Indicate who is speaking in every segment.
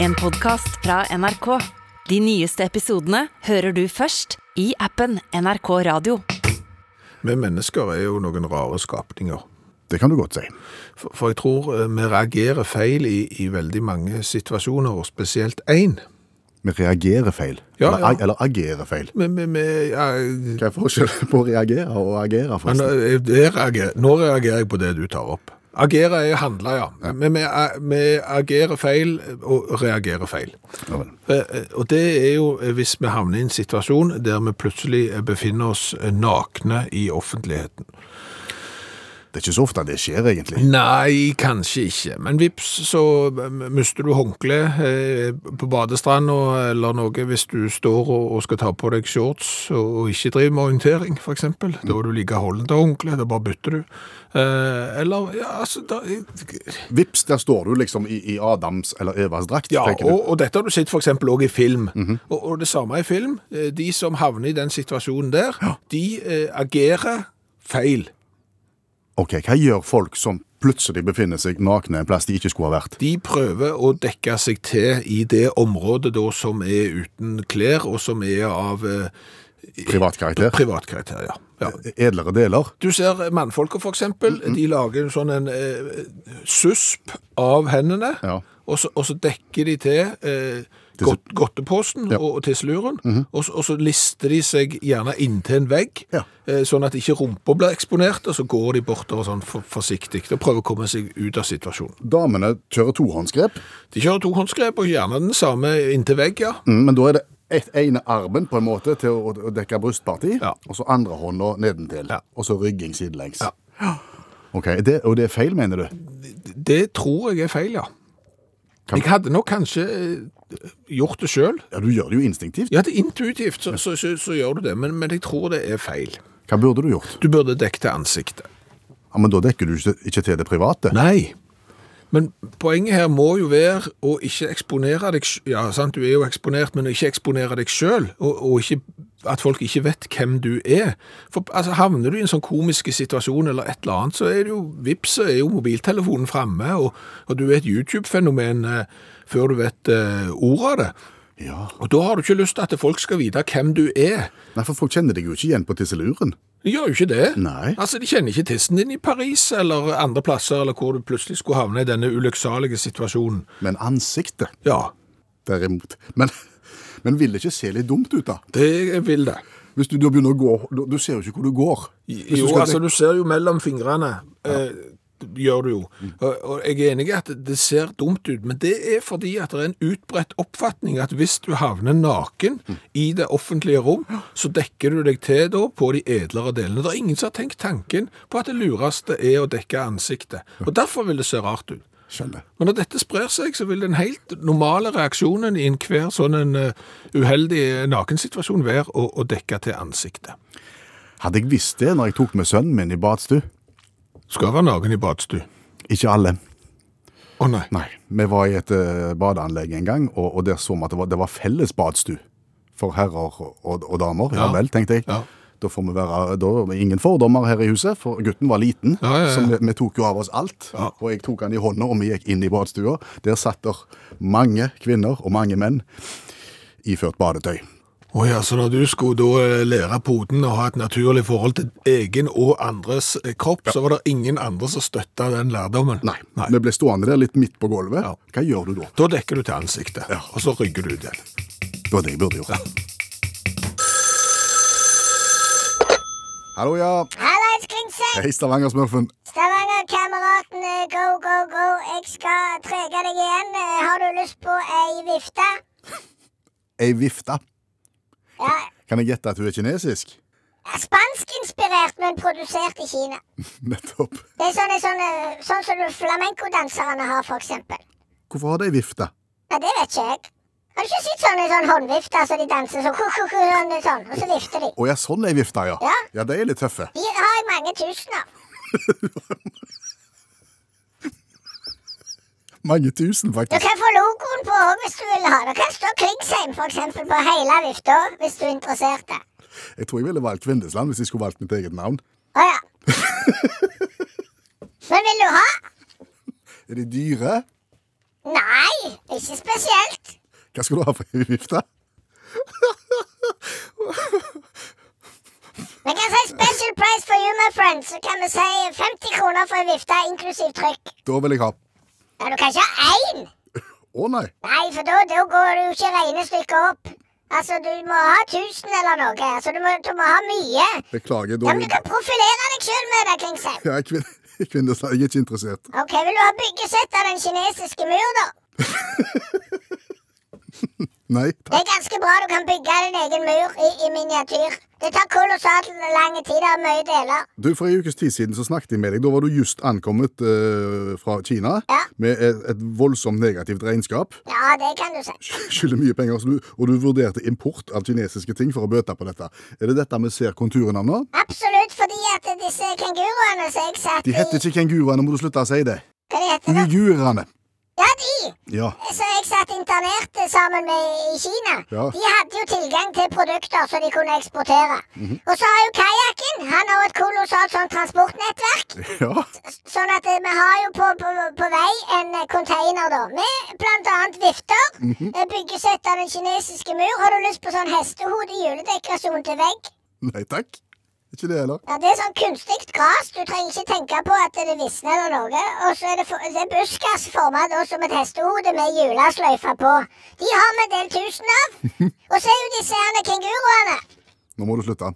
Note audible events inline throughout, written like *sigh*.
Speaker 1: En podcast fra NRK. De nyeste episodene hører du først i appen NRK Radio.
Speaker 2: Vi mennesker er jo noen rare skapninger.
Speaker 3: Det kan du godt si.
Speaker 2: For, for jeg tror eh, vi reagerer feil i, i veldig mange situasjoner, og spesielt én.
Speaker 3: Vi reagerer feil.
Speaker 2: Ja,
Speaker 3: eller,
Speaker 2: ja.
Speaker 3: ag- eller agerer feil.
Speaker 2: Men men- men, ja, jeg-
Speaker 3: Hva er forskjellen *laughs* på å reagere og agere,
Speaker 2: men,
Speaker 3: forresten?
Speaker 2: eh, jeg reagerer- Nå reagerer jeg på det du tar opp. Agere er å handle, ja. Men vi, eh, vi agerer feil og reagerer feil.
Speaker 3: Ja, vel.
Speaker 2: Eh, eh, Og det er jo eh, hvis vi havner i en situasjon der vi plutselig eh, befinner oss eh, nakne i offentligheten.
Speaker 3: Det er ikke så ofte det skjer, egentlig.
Speaker 2: Nei, kanskje ikke. Men vips, så eh, mister du håndkle eh, på badestranda eller noe hvis du står og, og skal ta på deg shorts og, og ikke driver med orientering, f.eks. Da er du like holden til håndkle, da bare bytter du. Eh, eller ja, altså da,
Speaker 3: Vips, der står du liksom i, i Adams eller Evas drakt,
Speaker 2: Ja,
Speaker 3: tenker du.
Speaker 2: og, og dette har du sett f.eks. òg i film. og, og det samme i film. Eh, De som havner i den situasjonen der, de eh, agerer feil.
Speaker 3: Ok, hva gjør folk som plutselig befinner seg nakne en plass de ikke skulle ha vært?
Speaker 2: De prøver å dekke seg til i det området da som er uten klær, og som er av eh,
Speaker 3: Privatkarakter?
Speaker 2: privat karakter. Ja. ja.
Speaker 3: Edlere deler?
Speaker 2: Du ser mannfolka, for eksempel. De lager en sånn en, eh, susp av hendene,
Speaker 3: Ja.
Speaker 2: og, så, og så dekker de til eh,
Speaker 3: Tisse-
Speaker 2: godt, godteposen og, og tisseluren, og, så- og så lister de seg gjerne inntil en vegg,
Speaker 3: Mm-hmm. Ja.
Speaker 2: eh, sånn at ikke rumpa blir eksponert, og så går de bortover sånn for, forsiktig og prøver å komme seg ut av situasjonen.
Speaker 3: Damene kjører tohåndsgrep,
Speaker 2: De kjører tohåndsgrep, og gjerne den samme inntil vegg, ja.
Speaker 3: mm, men da er det et, ene armen på en måte til å, å dekke brystparti,
Speaker 2: Ja.
Speaker 3: og så andre hånda nedentil,
Speaker 2: Ja.
Speaker 3: og så rygging sidelengs.
Speaker 2: Ja.
Speaker 3: Ok, det, og det er feil, mener du?
Speaker 2: Det tror jeg er feil, ja.
Speaker 3: Kan-
Speaker 2: Jeg hadde nok kanskje eh, gjort det sjøl.
Speaker 3: Ja, du gjør det jo instinktivt.
Speaker 2: Ja, det er intuitivt, så, så, så, så gjør du det, men, men jeg tror det er feil.
Speaker 3: Hva burde du gjort?
Speaker 2: Du burde dekke til ansiktet.
Speaker 3: Ja, Men da dekker du ikke, ikke til det private.
Speaker 2: Nei. Men poenget her må jo være å ikke eksponere deg sj- Ja, sant, du er jo eksponert, men å ikke eksponere deg sjøl, og, og ikke, at folk ikke vet hvem du er. For altså, Havner du i en sånn komisk situasjon eller et eller annet, så er det jo vips, så er jo mobiltelefonen framme, og, og du er et YouTube-fenomen eh, før du vet eh, ordet av det.
Speaker 3: Ja.
Speaker 2: Og da har du ikke lyst til at folk skal vite hvem du er.
Speaker 3: Nei, for folk kjenner deg jo ikke igjen på tisseluren.
Speaker 2: De gjør jo ikke det.
Speaker 3: Nei.
Speaker 2: Altså, De kjenner ikke tissen din i Paris eller andre plasser, eller hvor du plutselig skulle havne i denne ulykksalige situasjonen.
Speaker 3: Men ansiktet,
Speaker 2: Ja,
Speaker 3: derimot. Men, men vil det ikke se litt dumt ut, da?
Speaker 2: det vil det.
Speaker 3: Hvis du da begynner å gå Du, du ser jo ikke hvor du går. Hvis
Speaker 2: Jo,
Speaker 3: du skal
Speaker 2: altså,
Speaker 3: dekke-
Speaker 2: du ser jo mellom fingrene. Eh, Gjør du jo. Og, og jeg er enig i at det ser dumt ut, men det er fordi at det er en utbredt oppfatning at hvis du havner naken
Speaker 3: Mm.
Speaker 2: i det offentlige rom, så dekker du deg til da på de edlere delene. Det er ingen som har tenkt tanken på at det lureste er å dekke ansiktet. Og derfor vil det se rart ut.
Speaker 3: Skjønner.
Speaker 2: Men når dette sprer seg, så vil den helt normale reaksjonen i enhver sånn en eh, uheldig eh, nakensituasjon være å, å dekke til ansiktet.
Speaker 3: Hadde jeg visst det når jeg tok med sønnen min i badstue?
Speaker 2: Skal være naken i badstue.
Speaker 3: Ikke alle.
Speaker 2: Å nei.
Speaker 3: Nei. Vi var i et eh, badeanlegg en gang, og, og der så vi at det var, det var felles badstue. For herrer og, og, og damer. Ja,
Speaker 2: Ja.
Speaker 3: vel, tenkte jeg.
Speaker 2: Ja.
Speaker 3: Da får vi være da, er det Ingen fordommer her i huset, for gutten var liten.
Speaker 2: Ja, ja, ja.
Speaker 3: Så vi, vi tok jo av oss alt.
Speaker 2: Ja.
Speaker 3: Og jeg tok han i hånda, og vi gikk inn i badstua. Der satt der mange kvinner og mange menn iført badetøy.
Speaker 2: Å ja, så når du skulle da eh, lære poden å ha et naturlig forhold til egen og andres eh, kropp, så var det ingen andre som støtta den lærdommen?
Speaker 3: Nei. Vi ble stående der litt midt på gulvet.
Speaker 2: Ja.
Speaker 3: Hva gjør du da?
Speaker 2: Da dekker du til ansiktet, og så rygger du ut igjen.
Speaker 3: Det var det jeg burde gjort. Hallo, ja.
Speaker 4: Hallais, Klingseng!
Speaker 3: Hei, Stavanger-smurfen.
Speaker 4: Stavanger-kameratene, go, go, go. Jeg skal trege deg igjen. Eh, Har du lyst på ei vifte?
Speaker 3: Ei vifte.
Speaker 4: Ja,
Speaker 3: Kan jeg gjette at hun er kinesisk? *laughs*
Speaker 4: Spanskinspirert, men produsert i Kina.
Speaker 3: Nettopp.
Speaker 4: Det er sånne, sånne, sånn som du flamencodanserne har, for eksempel.
Speaker 3: Hvorfor har de vifte?
Speaker 4: Ja, det vet ikke jeg. Har du ikke sett sånne sånn håndvifter som de danser sånn, ku, ku, ku, sånn, sånn, og så vifter de?
Speaker 3: Å ja, sånn er vifta, ja.
Speaker 4: Ja.
Speaker 3: Ja, de er litt tøffe.
Speaker 4: De har jeg mange tusen av.
Speaker 3: Mange tusen,
Speaker 4: Du
Speaker 3: faktisk.
Speaker 4: kan få logoen på òg hvis du vil ha. Det kan stå Klingsheim, for eksempel, på hele vifta, hvis du er interessert.
Speaker 3: Jeg tror jeg ville valgt Kvindesland hvis jeg skulle valgt mitt eget navn.
Speaker 4: Å ja. Men vil du ha?
Speaker 3: Er de dyre?
Speaker 4: Nei, ikke spesielt.
Speaker 3: Hva skal du ha for *laughs* utgifter?
Speaker 4: Vi kan si special price for you, my friend. Så kan vi si 50 kroner for ei vifte inklusiv trykk.
Speaker 3: Da vil jeg ha
Speaker 4: Ja, du kan ikke ha én!
Speaker 3: Å nei.
Speaker 4: Nei, for da, da går det jo ikke regnestykket opp. Altså, du må ha 1000 eller noe. Altså, du må, du må ha mye.
Speaker 3: Beklager. Da
Speaker 4: Ja, men du kan profilere deg sjøl med det, Klingsheim.
Speaker 3: Ja, kvinne, *laughs* kvinneslag. Jeg er ikke interessert.
Speaker 4: Ok, vil du ha byggesett av den kinesiske mur, da?
Speaker 3: Nei.
Speaker 4: Det er ganske bra du kan bygge din egen mur i, i miniatyr. Det tar kolossalt lang tid, det er mye deler.
Speaker 3: Du, For en ukes tid siden så snakket jeg med deg. Da var du just ankommet eh, fra Kina
Speaker 4: Ja.
Speaker 3: med et, et voldsomt negativt regnskap.
Speaker 4: Ja, det kan du si.
Speaker 3: Skylder mye penger, så du, og du vurderte import av kinesiske ting for å bøte på dette. Er det dette vi ser konturen av nå?
Speaker 4: Absolutt, fordi at disse kenguruene som jeg satt
Speaker 3: De heter
Speaker 4: i
Speaker 3: ikke kenguruene, må du slutte å si det.
Speaker 4: Hva de heter de?
Speaker 3: Uigurene.
Speaker 4: Ja, de!
Speaker 3: Ja. *laughs*
Speaker 4: Så jeg satt internert sammen med i Kina.
Speaker 3: Ja.
Speaker 4: De hadde jo tilgang til produkter som de kunne eksportere.
Speaker 3: Mhm.
Speaker 4: Og så har jo kajakken Han har jo et kolossalt sånn transportnettverk.
Speaker 3: ja.
Speaker 4: S- Sånn at eh, vi har jo på, på, på vei en eh, container, da. Med blant annet vifter. eh, Byggesett av den kinesiske mur. Har du lyst på sånn hestehode juledekorasjon til vegg?
Speaker 3: Nei takk. Ikke det heller.
Speaker 4: Ja, Det er sånn kunstig gras. Du trenger ikke tenke på at det visner eller noe. Og så er det, for, det er buskas forma da som et hestehode med hjulesløyfe på. De har vi en del tusen av. Og så er jo disse herne kenguruene.
Speaker 3: Nå må du slutte.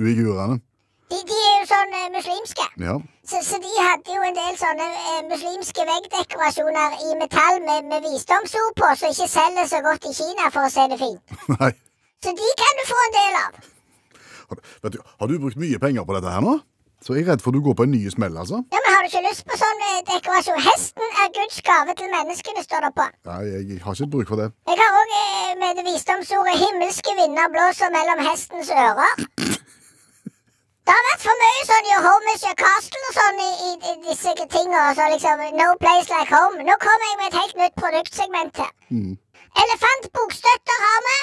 Speaker 3: Uigurene.
Speaker 4: De, de er jo sånn eh, muslimske.
Speaker 3: Ja. *laughs*
Speaker 4: Så, så de hadde jo en del sånne eh, muslimske veggdekorasjoner i metall med, med visdomsord på, som ikke selger så godt i Kina, for å si det fint.
Speaker 3: Nei.
Speaker 4: Så de kan du få en del av.
Speaker 3: Har, vet du, har du brukt mye penger på dette her nå? Så jeg er redd for du går på en ny smell, altså.
Speaker 4: Ja, men Har du ikke lyst på sånn eh, dekorasjon? Hesten er Guds gave til menneskene, står det på.
Speaker 3: Nei, jeg har ikke bruk for det.
Speaker 4: Jeg har òg med det visdomsordet 'himmelske vinder blåser mellom hestens ører'. Det har vært for mye sånn Your home is your castle og sånn i, i, i disse tinga. Så liksom No place like home. Nå kommer jeg med et helt nytt produktsegment her. Elefantbokstøtter har vi,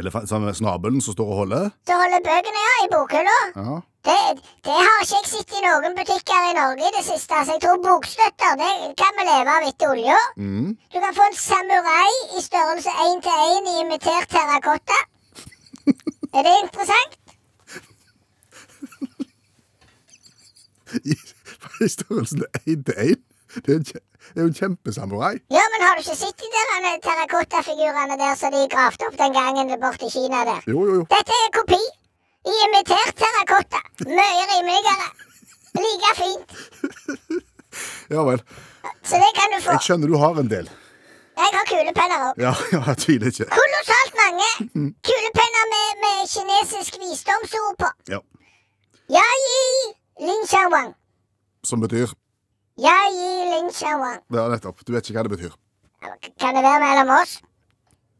Speaker 3: Elefant, sammen med snabelen som står og holder.
Speaker 4: som holder bøkene ja, i bokhylla.
Speaker 3: Ja. *laughs*
Speaker 4: Det, det har ikke jeg sett i noen butikker i Norge i det siste. Så jeg tror bokstøtter det kan vi leve av etter olja.
Speaker 3: Mm.
Speaker 4: Du kan få en samurai i størrelse 1 til 1 i imitert terrakotta. Er det interessant?
Speaker 3: I, i størrelsen én til én. Det er en kje- det er jo en kjempesamurai.
Speaker 4: Ja, men har du ikke sett de der eh, terrakottafigurene der som de gravde opp den gangen borte i Kina der?
Speaker 3: Jo, jo, jo.
Speaker 4: Dette er kopi i imitert terrakotta. Mye rimeligere. Like fint.
Speaker 3: Ja vel.
Speaker 4: Så det kan du få.
Speaker 3: Jeg skjønner du har en del.
Speaker 4: Jeg har kulepenner òg.
Speaker 3: Ja, *laughs* ja jeg tviler ikke.
Speaker 4: Kolossalt mange kulepenner med, med kinesisk visdomsord på.
Speaker 3: Ja.
Speaker 4: Ya yi lin xiao wang.
Speaker 3: Som betyr
Speaker 4: Ya yi lin xiao wang.
Speaker 3: Ja, nettopp. Du vet ikke hva det betyr.
Speaker 4: Kan det være mellom oss?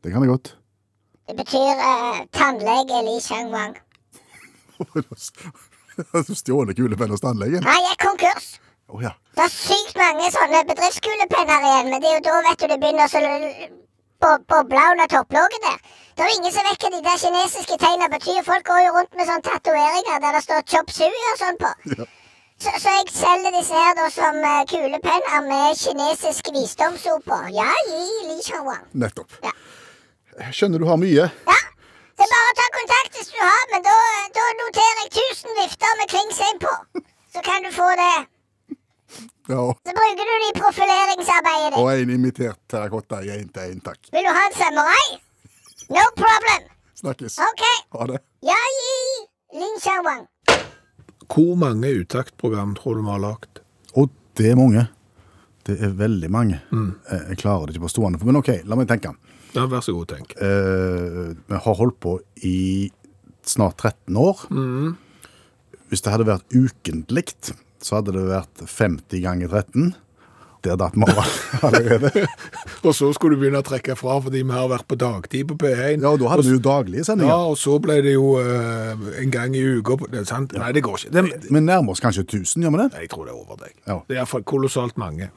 Speaker 3: Det kan jeg godt. *laughs*
Speaker 4: Det betyr eh, tannlege Li Chang-wang.
Speaker 3: Du *laughs* stjålet kulepenn hos tannlegen?
Speaker 4: Han gikk konkurs.
Speaker 3: Å ja.
Speaker 4: Det er sykt mange sånne bedriftskulepenner igjen, men det er jo da vet du, det begynner å så l- l- bo- boble under topplogget der. Det er jo ingen som vet hva de der kinesiske tegna betyr. Folk går jo rundt med sånne tatoveringer der det står chop sui og sånn på.
Speaker 3: Ja.
Speaker 4: Så, så jeg selger disse her da som eh, kulepenner med kinesisk visdomsord på. Ja, gi Li Chang-wang.
Speaker 3: Nettopp.
Speaker 4: Ja.
Speaker 3: Jeg skjønner du har mye.
Speaker 4: Ja, det er bare å ta kontakt hvis du har, men da, da noterer jeg 1000 vifter med Klingsheim på. Så kan du få det.
Speaker 3: Ja, og-
Speaker 4: Så bruker du det i profileringsarbeidet ditt.
Speaker 3: Og en imitert terrakotta i én til én, takk.
Speaker 4: Vil du ha en samurai? No problem.
Speaker 3: Snakkes.
Speaker 4: OK.
Speaker 3: Ha det.
Speaker 4: Ja, gi Lin Xiaowang.
Speaker 2: Hvor mange utaktprogram tror du vi har lagd?
Speaker 3: Og det er mange. Det er veldig mange. Eh, Jeg klarer det ikke på stående. fot, Men OK, la meg tenke.
Speaker 2: Ja, vær så god, tenk.
Speaker 3: Eh, Vi har holdt på i snart 13 år. Hvis det hadde vært ukentlig, så hadde det vært 50 ganger 13. Der datt vi av *laughs* allerede.
Speaker 2: Og så skulle du begynne å trekke fra fordi vi har vært på dagtid på P1.
Speaker 3: Ja, og da hadde vi jo daglige
Speaker 2: Ja,
Speaker 3: sendinger.
Speaker 2: og så ble det jo eh, en gang i uka på- det er sant? Nei, det går ikke. Det,
Speaker 3: Vi nærmer oss kanskje 1000, gjør vi det?
Speaker 2: Nei, jeg tror det er over deg.
Speaker 3: Ja.
Speaker 2: Det er iallfall kolossalt mange.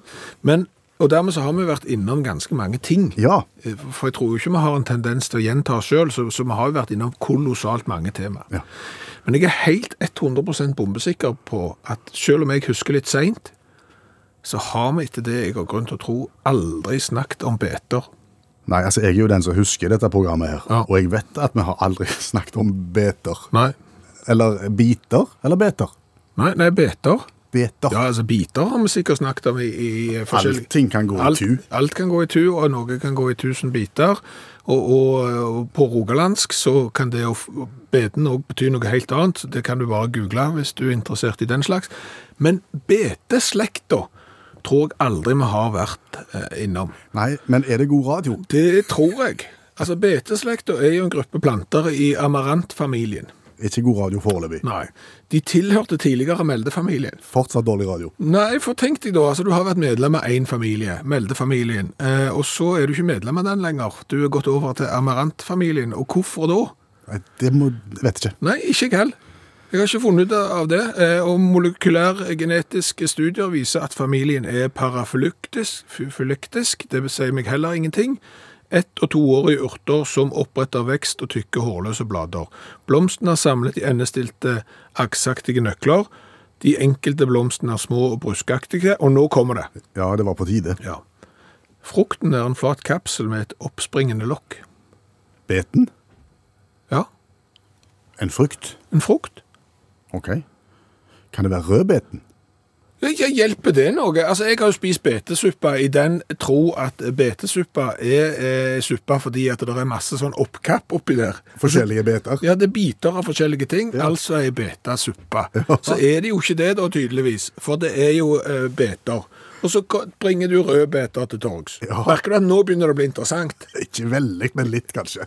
Speaker 2: Men, og dermed så har vi vært innom ganske mange ting.
Speaker 3: Ja.
Speaker 2: Eh, For jeg tror jo ikke vi har en tendens til å gjenta oss sjøl, så, så vi har jo vært innom kolossalt mange tema.
Speaker 3: Ja.
Speaker 2: Men jeg er helt 100 bombesikker på at selv om jeg husker litt seint, så har vi etter det jeg har grunn til å tro, aldri snakket om beter.
Speaker 3: Nei, altså jeg er jo den som husker dette programmet her,
Speaker 2: Ja.
Speaker 3: og jeg vet at vi har aldri *laughs* snakket om beter.
Speaker 2: Nei,
Speaker 3: Eller biter, eller beter.
Speaker 2: nei, nei beter.
Speaker 3: Beter.
Speaker 2: Ja, altså Biter har vi sikkert snakket om i, i forskjellige
Speaker 3: Allting kan gå i tu.
Speaker 2: Alt kan gå i tu, og noe kan gå i tusen biter. Og, og, og på rogalandsk så kan det å f- beten òg bety noe helt annet. Det kan du bare google hvis du er interessert i den slags. Men beteslekta tror jeg aldri vi har vært eh, innom.
Speaker 3: Nei, men er det god radio?
Speaker 2: Det tror jeg. Altså Beteslekta er jo en gruppe planter i amarantfamilien.
Speaker 3: Ikke god radio foreløpig.
Speaker 2: Nei. De tilhørte tidligere meldefamilien.
Speaker 3: Fortsatt dårlig radio.
Speaker 2: Nei, for tenk deg da, altså du har vært medlem av én familie, meldefamilien, eh, og så er du ikke medlem av den lenger. Du er gått over til amarantfamilien, og hvorfor da?
Speaker 3: Nei, Det må Vet ikke.
Speaker 2: Nei, ikke jeg heller. Jeg har ikke funnet ut av det, eh, og molekylærgenetiske studier viser at familien er parafylyktisk, fylyktisk, det vil si meg heller ingenting. Ett- og toårige urter som oppretter vekst og tykke hårløse blader. Blomsten er samlet i endestilte aksaktige nøkler. De enkelte blomstene er små og bruskaktige, og nå kommer det.
Speaker 3: Ja, det var på tide.
Speaker 2: Ja. Frukten er en flat kapsel med et oppspringende lokk.
Speaker 3: Beten?
Speaker 2: Ja,
Speaker 3: En frukt?
Speaker 2: en frukt.
Speaker 3: OK. Kan det være rødbeten?
Speaker 2: Ja, ja, hjelper det noe? Altså, Jeg har jo spist betesuppa i den tro at betesuppa er eh, suppa fordi at det er masse sånn oppkapp oppi der.
Speaker 3: Forskjellige beter?
Speaker 2: Ja, det er biter av forskjellige ting, altså er beta suppa. Så er det jo ikke det da, tydeligvis, for det er jo eh, beter. Og så ko- bringer du rød beter til torgs.
Speaker 3: Ja.
Speaker 2: Merker du at nå begynner det å bli interessant?
Speaker 3: Ikke veldig, men litt, kanskje.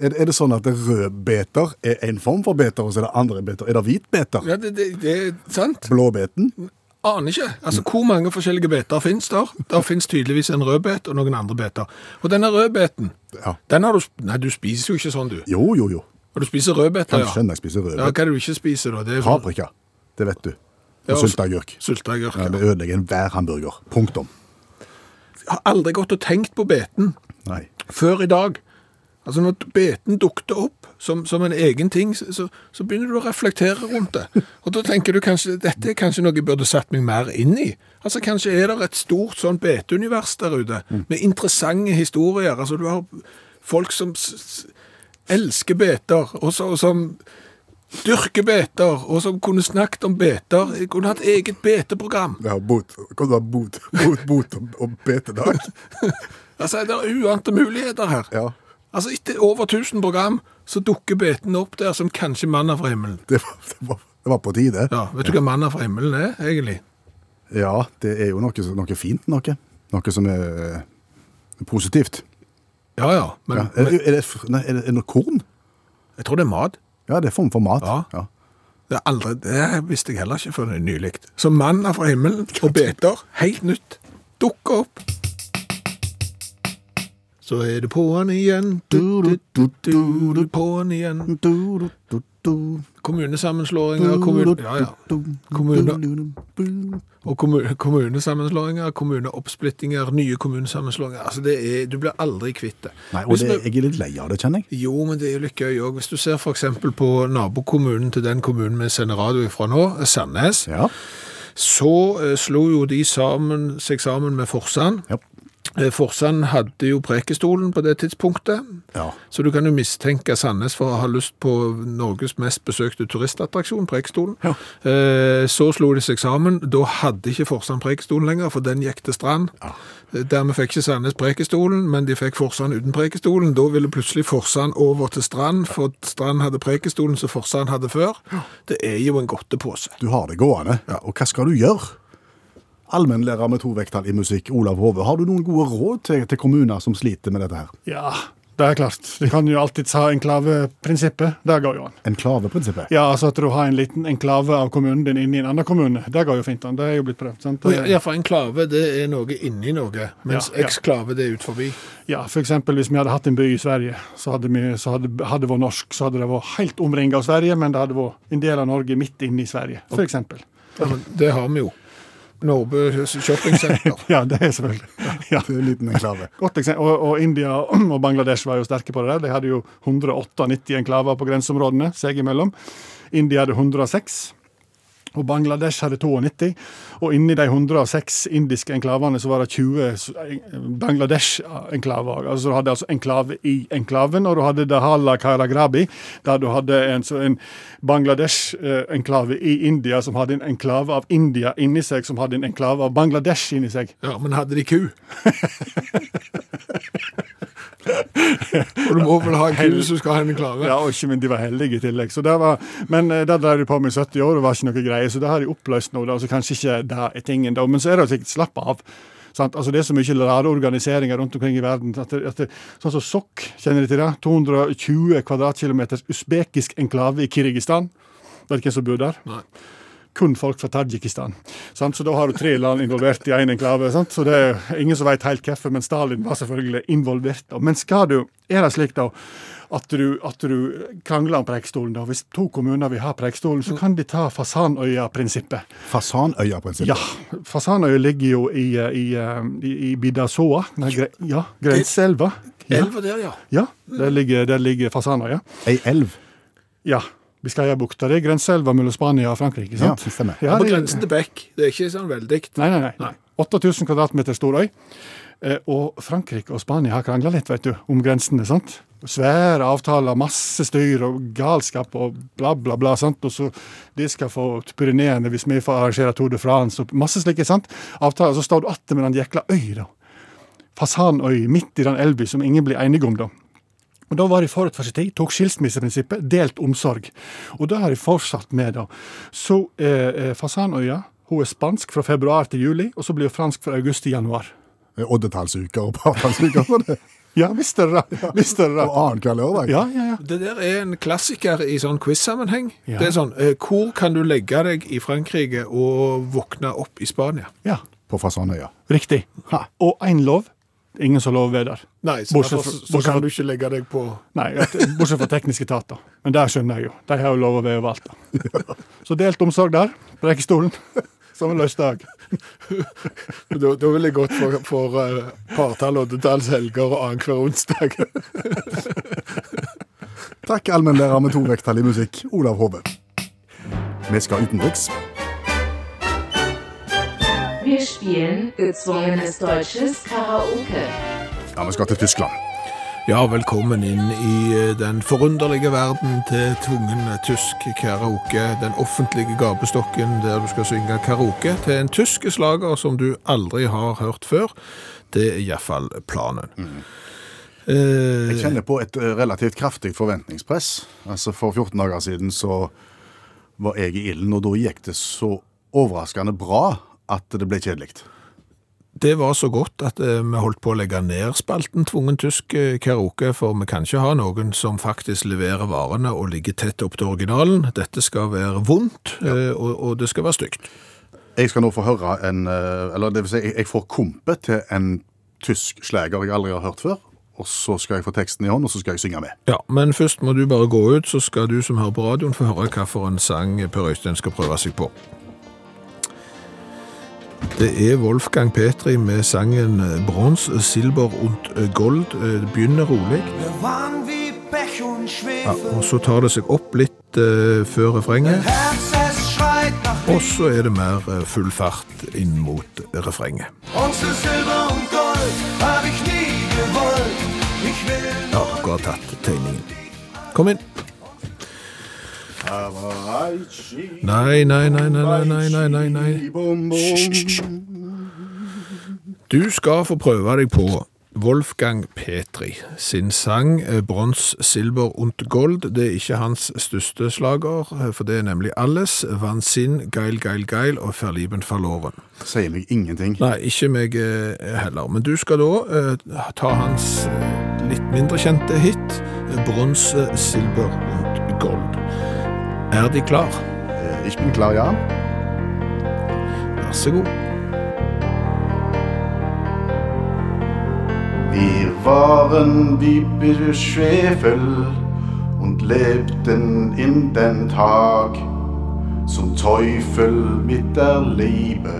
Speaker 3: Er det, er det sånn at det rødbeter er en form for beter, og så er det andre beter? Er det hvitbeter?
Speaker 2: Ja, det, det, det er sant.
Speaker 3: Blåbeten?
Speaker 2: Aner ikke. Altså, Hvor mange forskjellige beter finnes der? Der finnes tydeligvis en rødbet og noen andre beter. Og denne rødbeten,
Speaker 3: Ja.
Speaker 2: den har du sp- Nei, du spiser jo ikke sånn, du.
Speaker 3: Jo, jo, jo.
Speaker 2: Og du spiser rødbeter,
Speaker 3: Kan
Speaker 2: ja.
Speaker 3: skjønne jeg spiser
Speaker 2: Ja, Hva
Speaker 3: rødbet.
Speaker 2: er det du ikke spiser, da? Det er sånn-
Speaker 3: Paprika. Det vet du.
Speaker 2: Ja,
Speaker 3: Og
Speaker 2: og-
Speaker 3: sylteagurk.
Speaker 2: Sylteagurk.
Speaker 3: Ja,
Speaker 2: Ja.
Speaker 3: det ødelegger enhver hamburger. Punktum.
Speaker 2: Jeg har aldri gått og tenkt på beten
Speaker 3: Nei.
Speaker 2: før i dag. Altså Når beten dukte opp som, som en egen ting, så, så, så begynner du å reflektere rundt det. Og da tenker du kanskje dette er kanskje noe jeg burde satt meg mer inn i. Altså Kanskje er det et stort sånn beteunivers der ute, med interessante historier. Altså Du har folk som s s elsker beter, og, så, og som dyrker beter, og som kunne snakket om beter. Jeg kunne hatt eget beteprogram.
Speaker 3: Ja, bot. Kan det være bot, bot, bot og, og *laughs* betedag?
Speaker 2: Altså, Det er uante muligheter her.
Speaker 3: Ja.
Speaker 2: Altså, Etter over 1000 program så dukker beten opp der som kanskje manna fra himmelen.
Speaker 3: Det var, det, var, det var på tide.
Speaker 2: Ja, Vet du hva manna fra himmelen er, egentlig?
Speaker 3: Ja, det er jo noe, som- noe fint, noe. Noe som er eh, positivt.
Speaker 2: Ja ja, men
Speaker 3: Ja. Er, det- er, det, fr- nei, er, det, er det noe korn?
Speaker 2: jeg tror det er mat.
Speaker 3: Ja, det er form for mat.
Speaker 2: Ja. Det, er aldri, det visste jeg heller ikke før nylig. Så manna fra himmelen og beter, helt nytt, dukker opp. Så er det på'n igjen,
Speaker 3: Du, du, du, du, du,
Speaker 2: på'n igjen.
Speaker 3: du, du, du, du.
Speaker 2: Kommunesammenslåinger, kommun... Ja ja. Kommuner. Og kommu- kommunesammenslåinger, kommuneoppsplittinger, nye kommunesammenslåinger. Altså det er, du blir aldri kvitt det.
Speaker 3: Nei, og
Speaker 2: Hvis
Speaker 3: det,
Speaker 2: vi-
Speaker 3: jeg er litt lei av det, kjenner jeg.
Speaker 2: jo, men det er jo litt gøy òg. Hvis du ser f.eks. på nabokommunen til den kommunen vi sender radio ifra nå, Sandnes,
Speaker 3: Ja.
Speaker 2: så eh, slo jo de sammen, seg sammen med Forsand.
Speaker 3: Ja.
Speaker 2: Eh, Forsand hadde jo Prekestolen på det tidspunktet.
Speaker 3: ja.
Speaker 2: Så du kan jo mistenke Sandnes for å ha lyst på Norges mest besøkte turistattraksjon, Preikestolen.
Speaker 3: Ja.
Speaker 2: Eh, så slo de seg sammen. Da hadde ikke Forsand Preikestolen lenger, for den gikk til strand. Eh, Dermed fikk ikke Sandnes Preikestolen, men de fikk Forsand uten Preikestolen. Da ville plutselig Forsand over til strand, for strand hadde Preikestolen som Forsand hadde før. Det er jo en godtepose.
Speaker 3: Du har det gående. Og hva skal du gjøre? Allmennlærer med to vekttall i musikk, Olav Hove, har du noen gode råd til, til kommuner som sliter med dette her?
Speaker 5: Ja, det er klart. De kan jo alltids ha enklaveprinsippet. Det går jo an.
Speaker 3: Enklaveprinsippet?
Speaker 5: Ja, altså at du har en liten enklave av kommunen din inni en annen kommune. Det går jo fint an. Det er jo blitt prøvd. sant?
Speaker 2: Og ja, for enklave det er noe inni noe, mens
Speaker 5: Ja, ja.
Speaker 2: eksklave det er ut forbi.
Speaker 5: Ja, for eksempel hvis vi hadde hatt en by i Sverige, så hadde, vi, så hadde, hadde det vært norsk, så hadde det vært helt omringet av Sverige, men det hadde vært en del av Norge midt inne i Sverige, for eksempel.
Speaker 2: Ja, men det har vi jo. Nårbø shoppingsenter.
Speaker 5: Ja, det er selvfølgelig. Ja.
Speaker 3: En liten enklave.
Speaker 5: Godt eksempel. Og, og India og Bangladesh var jo sterke på det der. De hadde jo 198 enklaver på grenseområdene seg imellom. India hadde 106. Og Bangladesh hadde 92. Og inni de 106 indiske enklavene så var det 20 s- en- Bangladesh-enklaver. Altså Du hadde altså enklave i enklaven, og du hadde Dahala Karagrabi, der du hadde en, så en Bangladesh-enklave i India som hadde en enklave av India inni seg, som hadde en enklave av Bangladesh inni seg.
Speaker 2: Ja, men hadde de ku? Og du må vel ha en ku hvis du skal ha en enklave?
Speaker 5: Ja, og ikke, men de var heldige i tillegg. Så det var, men eh, det drev de på med i 70 år, og det var ikke noe greie, så det har de oppløst nå. Da, så kanskje ikke det er tingen, da. Men så er det jo sikkert slapp av. Sant? Altså, det er så mye rare organiseringer rundt omkring i verden. At det, at det, sånn som Sokk, kjenner de til det? 220 kvadratkilometers usbekisk enklave i Kirgistan. Vet du hvem som bor der?
Speaker 2: Nei.
Speaker 5: Kun folk fra Tadsjikistan. Sant? Så da har du tre land involvert i én enklave. Sant? Så det er ingen som vet helt hvorfor, men Stalin var selvfølgelig involvert. Da. Men skal du, er det slik da at du, at du krangler om Preikestolen? da? Hvis to kommuner vil ha Preikestolen, så kan de ta Fasanøya-prinsippet.
Speaker 3: Fasanøya-prinsippet.
Speaker 5: Ja, Fasanøya ligger jo i, eh, i, eh, i, i Bidasoa, Nei, gre, ja, grenseelva. Ja,
Speaker 2: Elva der, ja.
Speaker 5: ja, der ligger, der ligger Fasanøya.
Speaker 3: Ei elv.
Speaker 5: Ja. Biscayabukta, det er grenseelva mellom Spania og Frankrike, sant?
Speaker 3: Ja, det stemmer.
Speaker 2: På
Speaker 5: det-
Speaker 2: grensen til Bekk. Det er ikke sånn veldig.
Speaker 5: Nei, nei, nei. nei. 8000 kvadratmeter stor øy. Eh, Og Frankrike og Spania har krangla litt vet du, om grensene. sant? Svære avtaler, masse styr og galskap og bla, bla, bla. sant? Og så de skal få Pyreneene hvis vi får arrangere Tour de France og masse slike sant? avtaler. Så står du atter med den jækla øy, da. Fasanøy midt i den elva som ingen blir enige om, da. Og Da var de forut for sin tid, tok skilsmisseprinsippet, delt omsorg. Og det har de fortsatt med. da. Så eh, eh, Fasanøya hun er spansk fra februar til juli, og så blir hun fransk fra august til januar.
Speaker 3: Eh, Oddetallsuker og partallsuker for det.
Speaker 5: Ja, visst er det det! Visst er det
Speaker 3: Og
Speaker 5: det.
Speaker 3: annenhver lørdag.
Speaker 5: Ja, ja, ja.
Speaker 2: Det der er en klassiker i sånn quiz-sammenheng.
Speaker 5: Ja.
Speaker 2: Det er sånn eh, Hvor kan du legge deg i Frankrike og våkne opp i Spania?
Speaker 5: ja.
Speaker 3: På Fasanøya.
Speaker 5: Riktig. Og én lov. Det er Ingen som lover veder.
Speaker 2: Nei, så,
Speaker 5: Bortsett
Speaker 2: derfor,
Speaker 5: fra-
Speaker 2: så
Speaker 5: bortsett fra-
Speaker 2: kan du ikke legge deg på
Speaker 5: Nei, at- bortsett fra tekniske etater. Men det skjønner jeg jo. De har jo lov å være *laughs* overalt. da. Så delt omsorg der. Preikestolen. Som en løsdag.
Speaker 2: Da, da ville jeg gått for, for eh, partall, oddetalls, helger og annenhver onsdag.
Speaker 3: *laughs* Takk, allmennlærer med to vekttall i musikk, Olav Hove. Vi skal utenriks.
Speaker 6: Wir spielen gezwungenes deutsches Karaoke.
Speaker 3: Ja, vi skal til Tyskland.
Speaker 2: Ja, velkommen inn i eh, den forunderlige verden til tvungen tysk karaoke. Den offentlige gapestokken der du skal synge karaoke til en tysk slager som du aldri har hørt før. Det er iallfall planen. Eh,
Speaker 3: Jeg kjenner på et eh, relativt kraftig forventningspress. Altså For 14 dager siden så var jeg i ilden, og da gikk det så overraskende bra at det ble kjedelig.
Speaker 2: Det var så godt at eh, vi holdt på å legge ned spalten tvungen tysk eh, karaoke, for vi kan ikke ha noen som faktisk leverer varene og ligger tett opp til originalen. Dette skal være vondt, eh, og, og det skal være stygt.
Speaker 3: Jeg skal nå få høre en eh, Eller det vil si, jeg- jeg får kompe til en tysk slager jeg aldri har hørt før. Og så skal jeg få teksten i hånd, og så skal jeg synge med.
Speaker 2: Ja, men først må du bare gå ut, så skal du som hører på radioen få høre hva for en sang Per Øystein skal prøve seg på. Det er Wolfgang Petri med sangen Brons, Silber und Gold. Eh, Det begynner rolig.
Speaker 7: Wir waren wie Pech und
Speaker 2: Ja,
Speaker 7: Schwefel.
Speaker 2: og så tar det seg opp litt eh, før refrenget.
Speaker 7: Herz, es schreit nach
Speaker 2: Og så er det mer eh, full fart inn mot refrenget.
Speaker 7: Uns ist Silber und Gold, hab ich nie gewollt. Ich will
Speaker 2: Ja, dere har tatt tegningen. Kom inn. Nei, nei, nei, nei, nei, nei, nei, nei, nei. Hysj, hysj, hysj. Du skal få prøve deg på Wolfgang Petri sin sang eh, Brons, Silber und Gold. Det er ikke hans største slager, eh, for det er nemlig alles. Vansin, Geil, Geil, Geil og Verlieben verloren.
Speaker 3: Sier meg ingenting.
Speaker 2: Nei, ikke meg eh, heller. Men du skal da eh, ta hans eh, litt mindre kjente hit, eh, Bronse, Silber und Gold. Er de klar?
Speaker 3: Eh, Ich bin klar, ja.
Speaker 2: Vær så god.
Speaker 3: Wir waren wie Bitte Schwefel und lebten in den Tag. Zum Teufel mit der Liebe,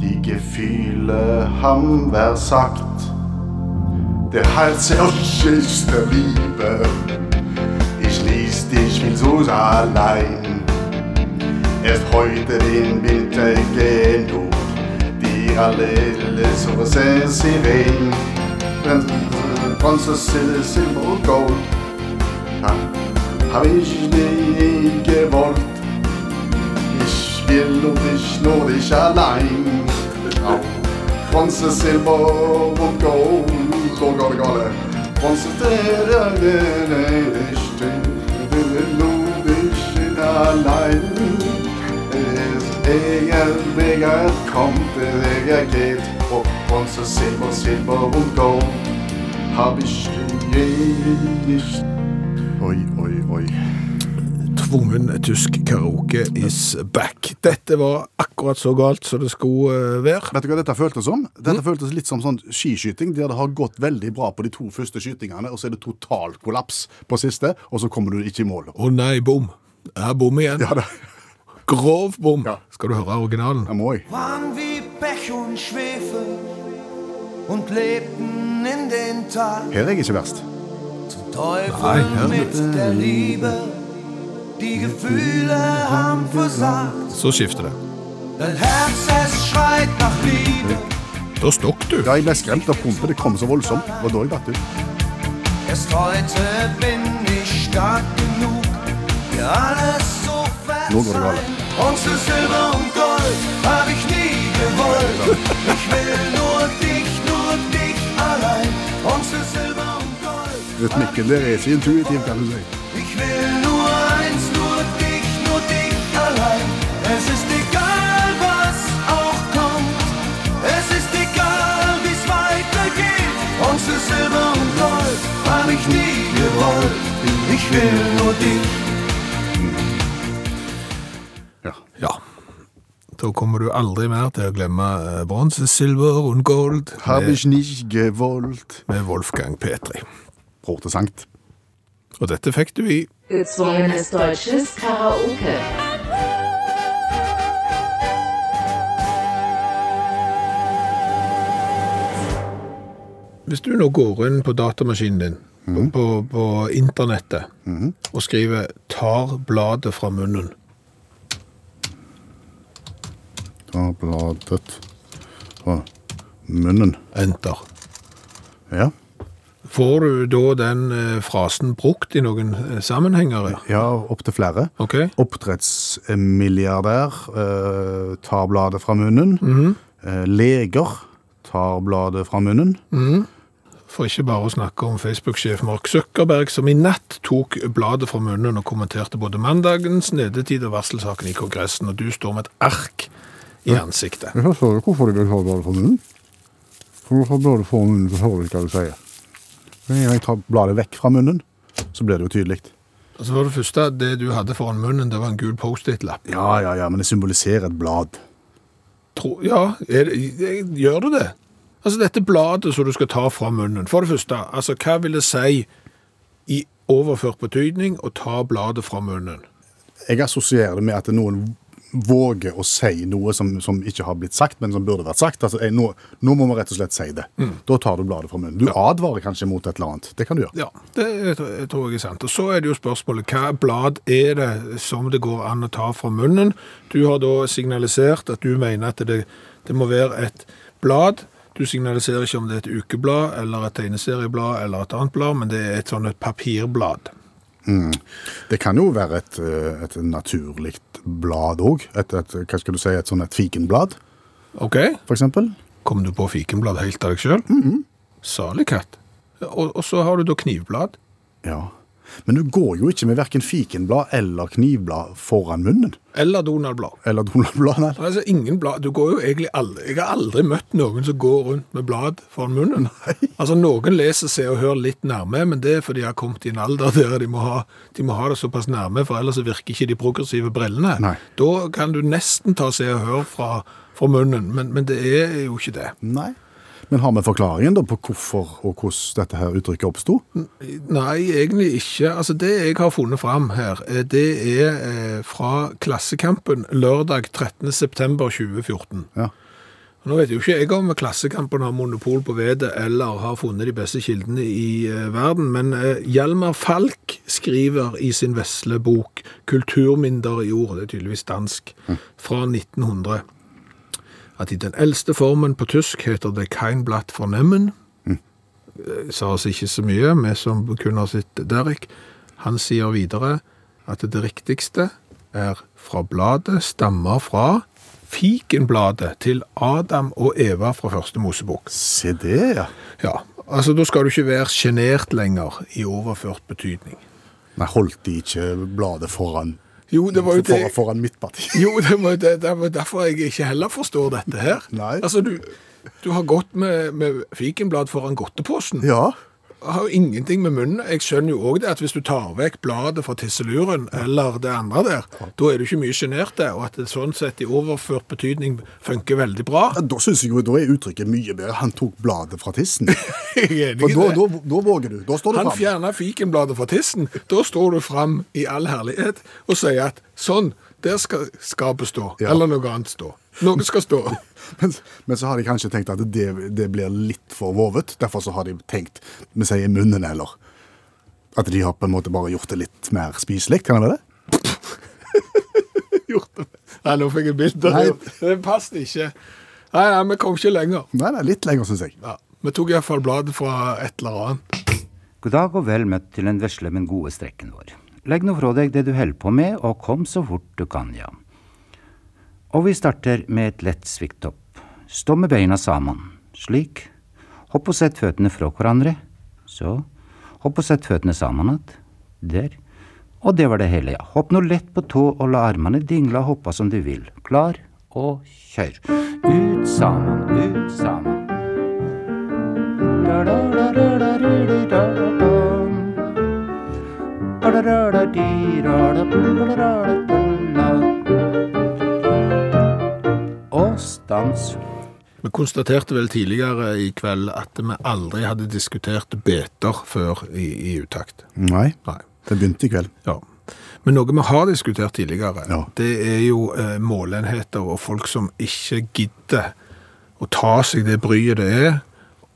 Speaker 3: die Gefühle haben versagt. Der Hals ist der Liebe, ich ließ dich viel so allein. Erst heute den Winter genug, die alle Ressourcen sie rein. Bronze, Sil- Silber und Gold ha- hab ich nie gewollt. Ich will und ich nur dich allein. Au. Bronze, Silber und Gold. So, Golle, Golle. Bronze, Silber und Gold. Ich will nur dich allein. Es egal, egal kommt, egal geht. Ob Bronze, Silber, Silber und Gold. Hab ich nie nicht
Speaker 8: Oi, oi, oi.
Speaker 2: Tvungen tysk karaoke is back. Dette var akkurat så galt som det skulle eh, være.
Speaker 8: Vet du hva dette føltes som? Dette føltes litt som sånn skiskyting, der det har gått veldig bra på de to første skytingene, og så er det total kollaps på siste, og så kommer du ikke i mål.
Speaker 2: Å nei, bom. Det er bom igjen.
Speaker 8: Ja, det
Speaker 2: Grov bom.
Speaker 8: Ja.
Speaker 2: Skal du høre originalen?
Speaker 8: det må jeg.
Speaker 7: waren wie Pech und Schwefel und lebten in den Tag.
Speaker 8: Her er jeg ikke verst.
Speaker 7: Zum Teufel mit der Liebe, die Gefühle haben versagt.
Speaker 2: Så skifter det.
Speaker 7: Dein Herz, es schreit nach Liebe,
Speaker 2: Da stokk du.
Speaker 8: Ja, jeg ble skremt av pumpet, det kom så voldsomt. Og da jeg datt ut.
Speaker 7: erst heute bin ich stark genug, dir alles zu
Speaker 8: Nur Gold,
Speaker 7: verzeihen. Und zu Silber und Gold hab ich nie gewollt. Ich will nur dich, nur dich allein. Und zu Silber und Gold.
Speaker 8: Rytmikken der er ikke intuitiv, kan du si.
Speaker 7: Ich will nur eins, nur dich, nur dich allein. Es ist egal, was auch kommt. Es ist egal, wie's weitergeht. Und für Silber und Gold hab ich nie gewollt. Ich will nur dich.
Speaker 8: Ja.
Speaker 2: Ja. Da kommer du aldri mer til å glemme eh, bronse, silver og gold
Speaker 8: Hab
Speaker 2: med,
Speaker 8: ich nicht gewollt.
Speaker 2: med Wolfgang Petri.
Speaker 8: Bror til Sankt.
Speaker 2: Og dette fikk du i
Speaker 6: Gezwungenes deutsches Karaoke.
Speaker 2: Hvis du nå går inn på datamaskinen din,
Speaker 8: Mhm.
Speaker 2: på, på, på internettet, og skriver 'tar bladet fra munnen',
Speaker 8: Ta bladet fra munnen.
Speaker 2: enter,
Speaker 8: Ja.
Speaker 2: får du da den eh, frasen brukt i noen eh, sammenhenger?
Speaker 8: ja, opp til flere.
Speaker 2: Ok?
Speaker 8: Oppdrettsmilliardær eh, tar bladet fra munnen. Eh, leger tar bladet fra munnen.
Speaker 2: For ikke bare å snakke om Facebook-sjef Mark Zuckerberg, som i natt tok bladet fra munnen og kommenterte både mandagens nedetid og varselsaken i Kongressen, og du står med et ark i ansiktet.
Speaker 8: Jeg forstår ikke hvorfor de vil ta bladet fra munnen. Hvorfor bladet fra munnen forstår jeg ikke hva du sier. Når jeg tar bladet vekk fra munnen, så blir det jo tydelig.
Speaker 2: Og så var det første, det du hadde foran munnen, det var en gul post-it-lapp.
Speaker 8: Ja, ja, ja, men det symboliserer et blad.
Speaker 2: Tro, ja, er, det- eh, gjør du det? Altså dette bladet som du skal ta fra munnen, for det første, altså hva vil det si i overført betydning å ta bladet fra munnen?
Speaker 8: Jeg assosierer det med at noen våger å si noe som, som ikke har blitt sagt, men som burde vært sagt. Altså, eh, nå, nå må man rett og slett si det. Da tar du bladet fra munnen. Du advarer kanskje mot et eller annet. Det kan du gjøre.
Speaker 2: Ja, det tr- tror jeg er sant. Og så er det jo spørsmålet, hva blad er det som det går an å ta fra munnen? Du har da signalisert at du mener at det, det må være et blad. Du signaliserer ikke om det er et ukeblad, eller et tegneserieblad, eller et annet blad, men det er et sånn et papirblad.
Speaker 8: Det kan jo være et, eh, et naturlig blad òg. Et, et, hva skal du si, et sånn et fikenblad,
Speaker 2: Ok?
Speaker 8: for eksempel.
Speaker 2: Kom du på fikenblad helt av deg sjøl? Salig katt. Og, og så har du da knivblad.
Speaker 8: Ja. Men du går jo ikke med verken fikenblad eller knivblad foran munnen.
Speaker 2: Eller Donald-blad.
Speaker 8: Eller donaldblad, nei.
Speaker 2: Altså, ingen blad. Du går jo egentlig aldri, Jeg har aldri møtt noen som går rundt med blad foran munnen. Altså, Noen leser Se og Hør litt nærme, men det er fordi de har kommet i en alder der de må ha, de må ha det såpass nærme, for ellers så virker ikke de progressive brillene.
Speaker 8: Nei.
Speaker 2: Da kan du nesten ta Se og Hør fra, fra munnen, men, men det er jo ikke det.
Speaker 8: Nei. Men har vi forklaringen da på hvorfor og hvordan dette her uttrykket oppsto?
Speaker 2: Nei, egentlig ikke. Altså, det jeg har funnet fram her, eh, det er eh, fra Klassekampen lørdag 13. september 2014.
Speaker 8: Ja.
Speaker 2: Nå vet jo ikke jeg om Klassekampen har monopol på vedet eller har funnet de beste kildene i eh, verden, men eh, Hjalmar Falk skriver i sin vesle bok 'Kulturminder i ord', det er tydeligvis dansk, fra 1900, at i den eldste formen på tysk heter det 'kein blatt fornemmen'. Eh, Sa oss ikke så mye, vi som kun har sett Derek. Han sier videre at det riktigste er fra bladet stammer fra fikenbladet til Adam og Eva fra første Mosebok.
Speaker 8: Se det, ja.
Speaker 2: Ja, altså da skal du ikke være sjenert lenger i overført betydning.
Speaker 8: Nei, holdt de ikke bladet foran,
Speaker 2: Jo, det var jo det,
Speaker 8: foran, foran mitt parti? *laughs*
Speaker 2: jo, det, var, jo det, det var derfor jeg ikke heller forstår dette her.
Speaker 8: Nei.
Speaker 2: Altså, du, du har gått med, med fikenblad foran godteposen.
Speaker 8: Ja.
Speaker 2: har jo ingenting med munnen. Jeg skjønner jo òg det at hvis du tar vekk bladet fra tisseluren eller det andre der, da er du ikke mye sjenert, det, og at det sånn sett i overført betydning funker veldig bra.
Speaker 8: Ja, Da synes jeg jo, da er uttrykket mye bedre. Han tok bladet fra tissen.
Speaker 2: *laughs* Jeg er enig
Speaker 8: For
Speaker 2: i
Speaker 8: da,
Speaker 2: det.
Speaker 8: da, da våger du. Da står du
Speaker 2: Han
Speaker 8: fram.
Speaker 2: fjerna fikenbladet fra tissen. Da står du fram i all herlighet og sier at sånn, der skal skapet stå.
Speaker 8: Ja.
Speaker 2: Eller noe annet stå. Noe skal stå.
Speaker 8: *laughs* Men, men så har de kanskje tenkt at det, det blir litt for vovet. Derfor så har de tenkt Vi sier munnen heller. At de har på en måte bare gjort det litt mer spiselig, kan det være det?
Speaker 2: Gjort det. Nei, nå fikk jeg bilde.
Speaker 8: Nei.
Speaker 2: Det passet ikke. Nei, nei, vi kom ikke lenger.
Speaker 8: Nei, nei, litt lenger, syns jeg.
Speaker 2: Ja. Vi tok iallfall bladet fra et eller annet.
Speaker 9: God dag og vel møtt til den vesle, men gode strekken vår. Legg nå fra deg det du holder på med, og kom så fort du kan, ja. Og vi starter med et lett svikthopp. Stå med beina sammen, slik. Hopp og sett føttene fra hverandre. Så. Hopp og sett føttene sammen att. Der. Og det var det hele, ja. Hopp nå lett på tå og la armene dingle og hoppe som du vil. Klar og kjør. Ut sammen, ut sammen. Og stans.
Speaker 2: Vi konstaterte vel tidligere i kveld at vi aldri hadde diskutert beter før i, i utakt.
Speaker 8: Nei.
Speaker 2: Nei.
Speaker 8: Det begynte i kveld.
Speaker 2: Ja. Men noe vi har diskutert tidligere,
Speaker 8: Ja.
Speaker 2: det er jo eh, målenheter og folk som ikke gidder å ta seg det bryet det er,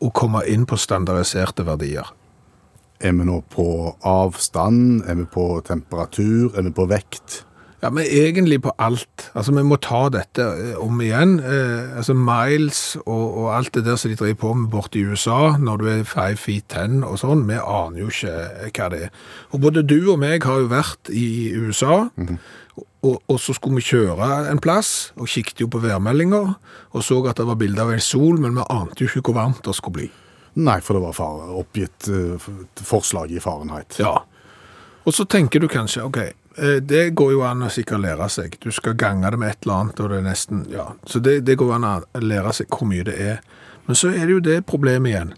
Speaker 2: og komme inn på standardiserte verdier.
Speaker 8: Er vi nå på avstand? Er vi på temperatur? Er vi på vekt?
Speaker 2: Ja, men egentlig på alt. Altså, vi må ta dette eh, om igjen. Eh, altså, Miles og, og alt det der som de driver på med borte i USA, når du er five feet ten og sånn, vi aner jo ikke eh, hva det er. Og både du og meg har jo vært i USA, og, og så skulle vi kjøre en plass, og kikket jo på værmeldinger, og så at det var bilder av en sol, men vi ante jo ikke hvor varmt det skulle bli.
Speaker 8: Nei, for det var far, oppgitt eh, f- forslag i Fahrenheit.
Speaker 2: Ja. Og så tenker du kanskje, ok, eh, det går jo an å sikkert lære seg. Du skal gange det med et eller annet, og det er nesten, ja. Så det, det går an å lære seg hvor mye det er. Men så er det jo det problemet igjen.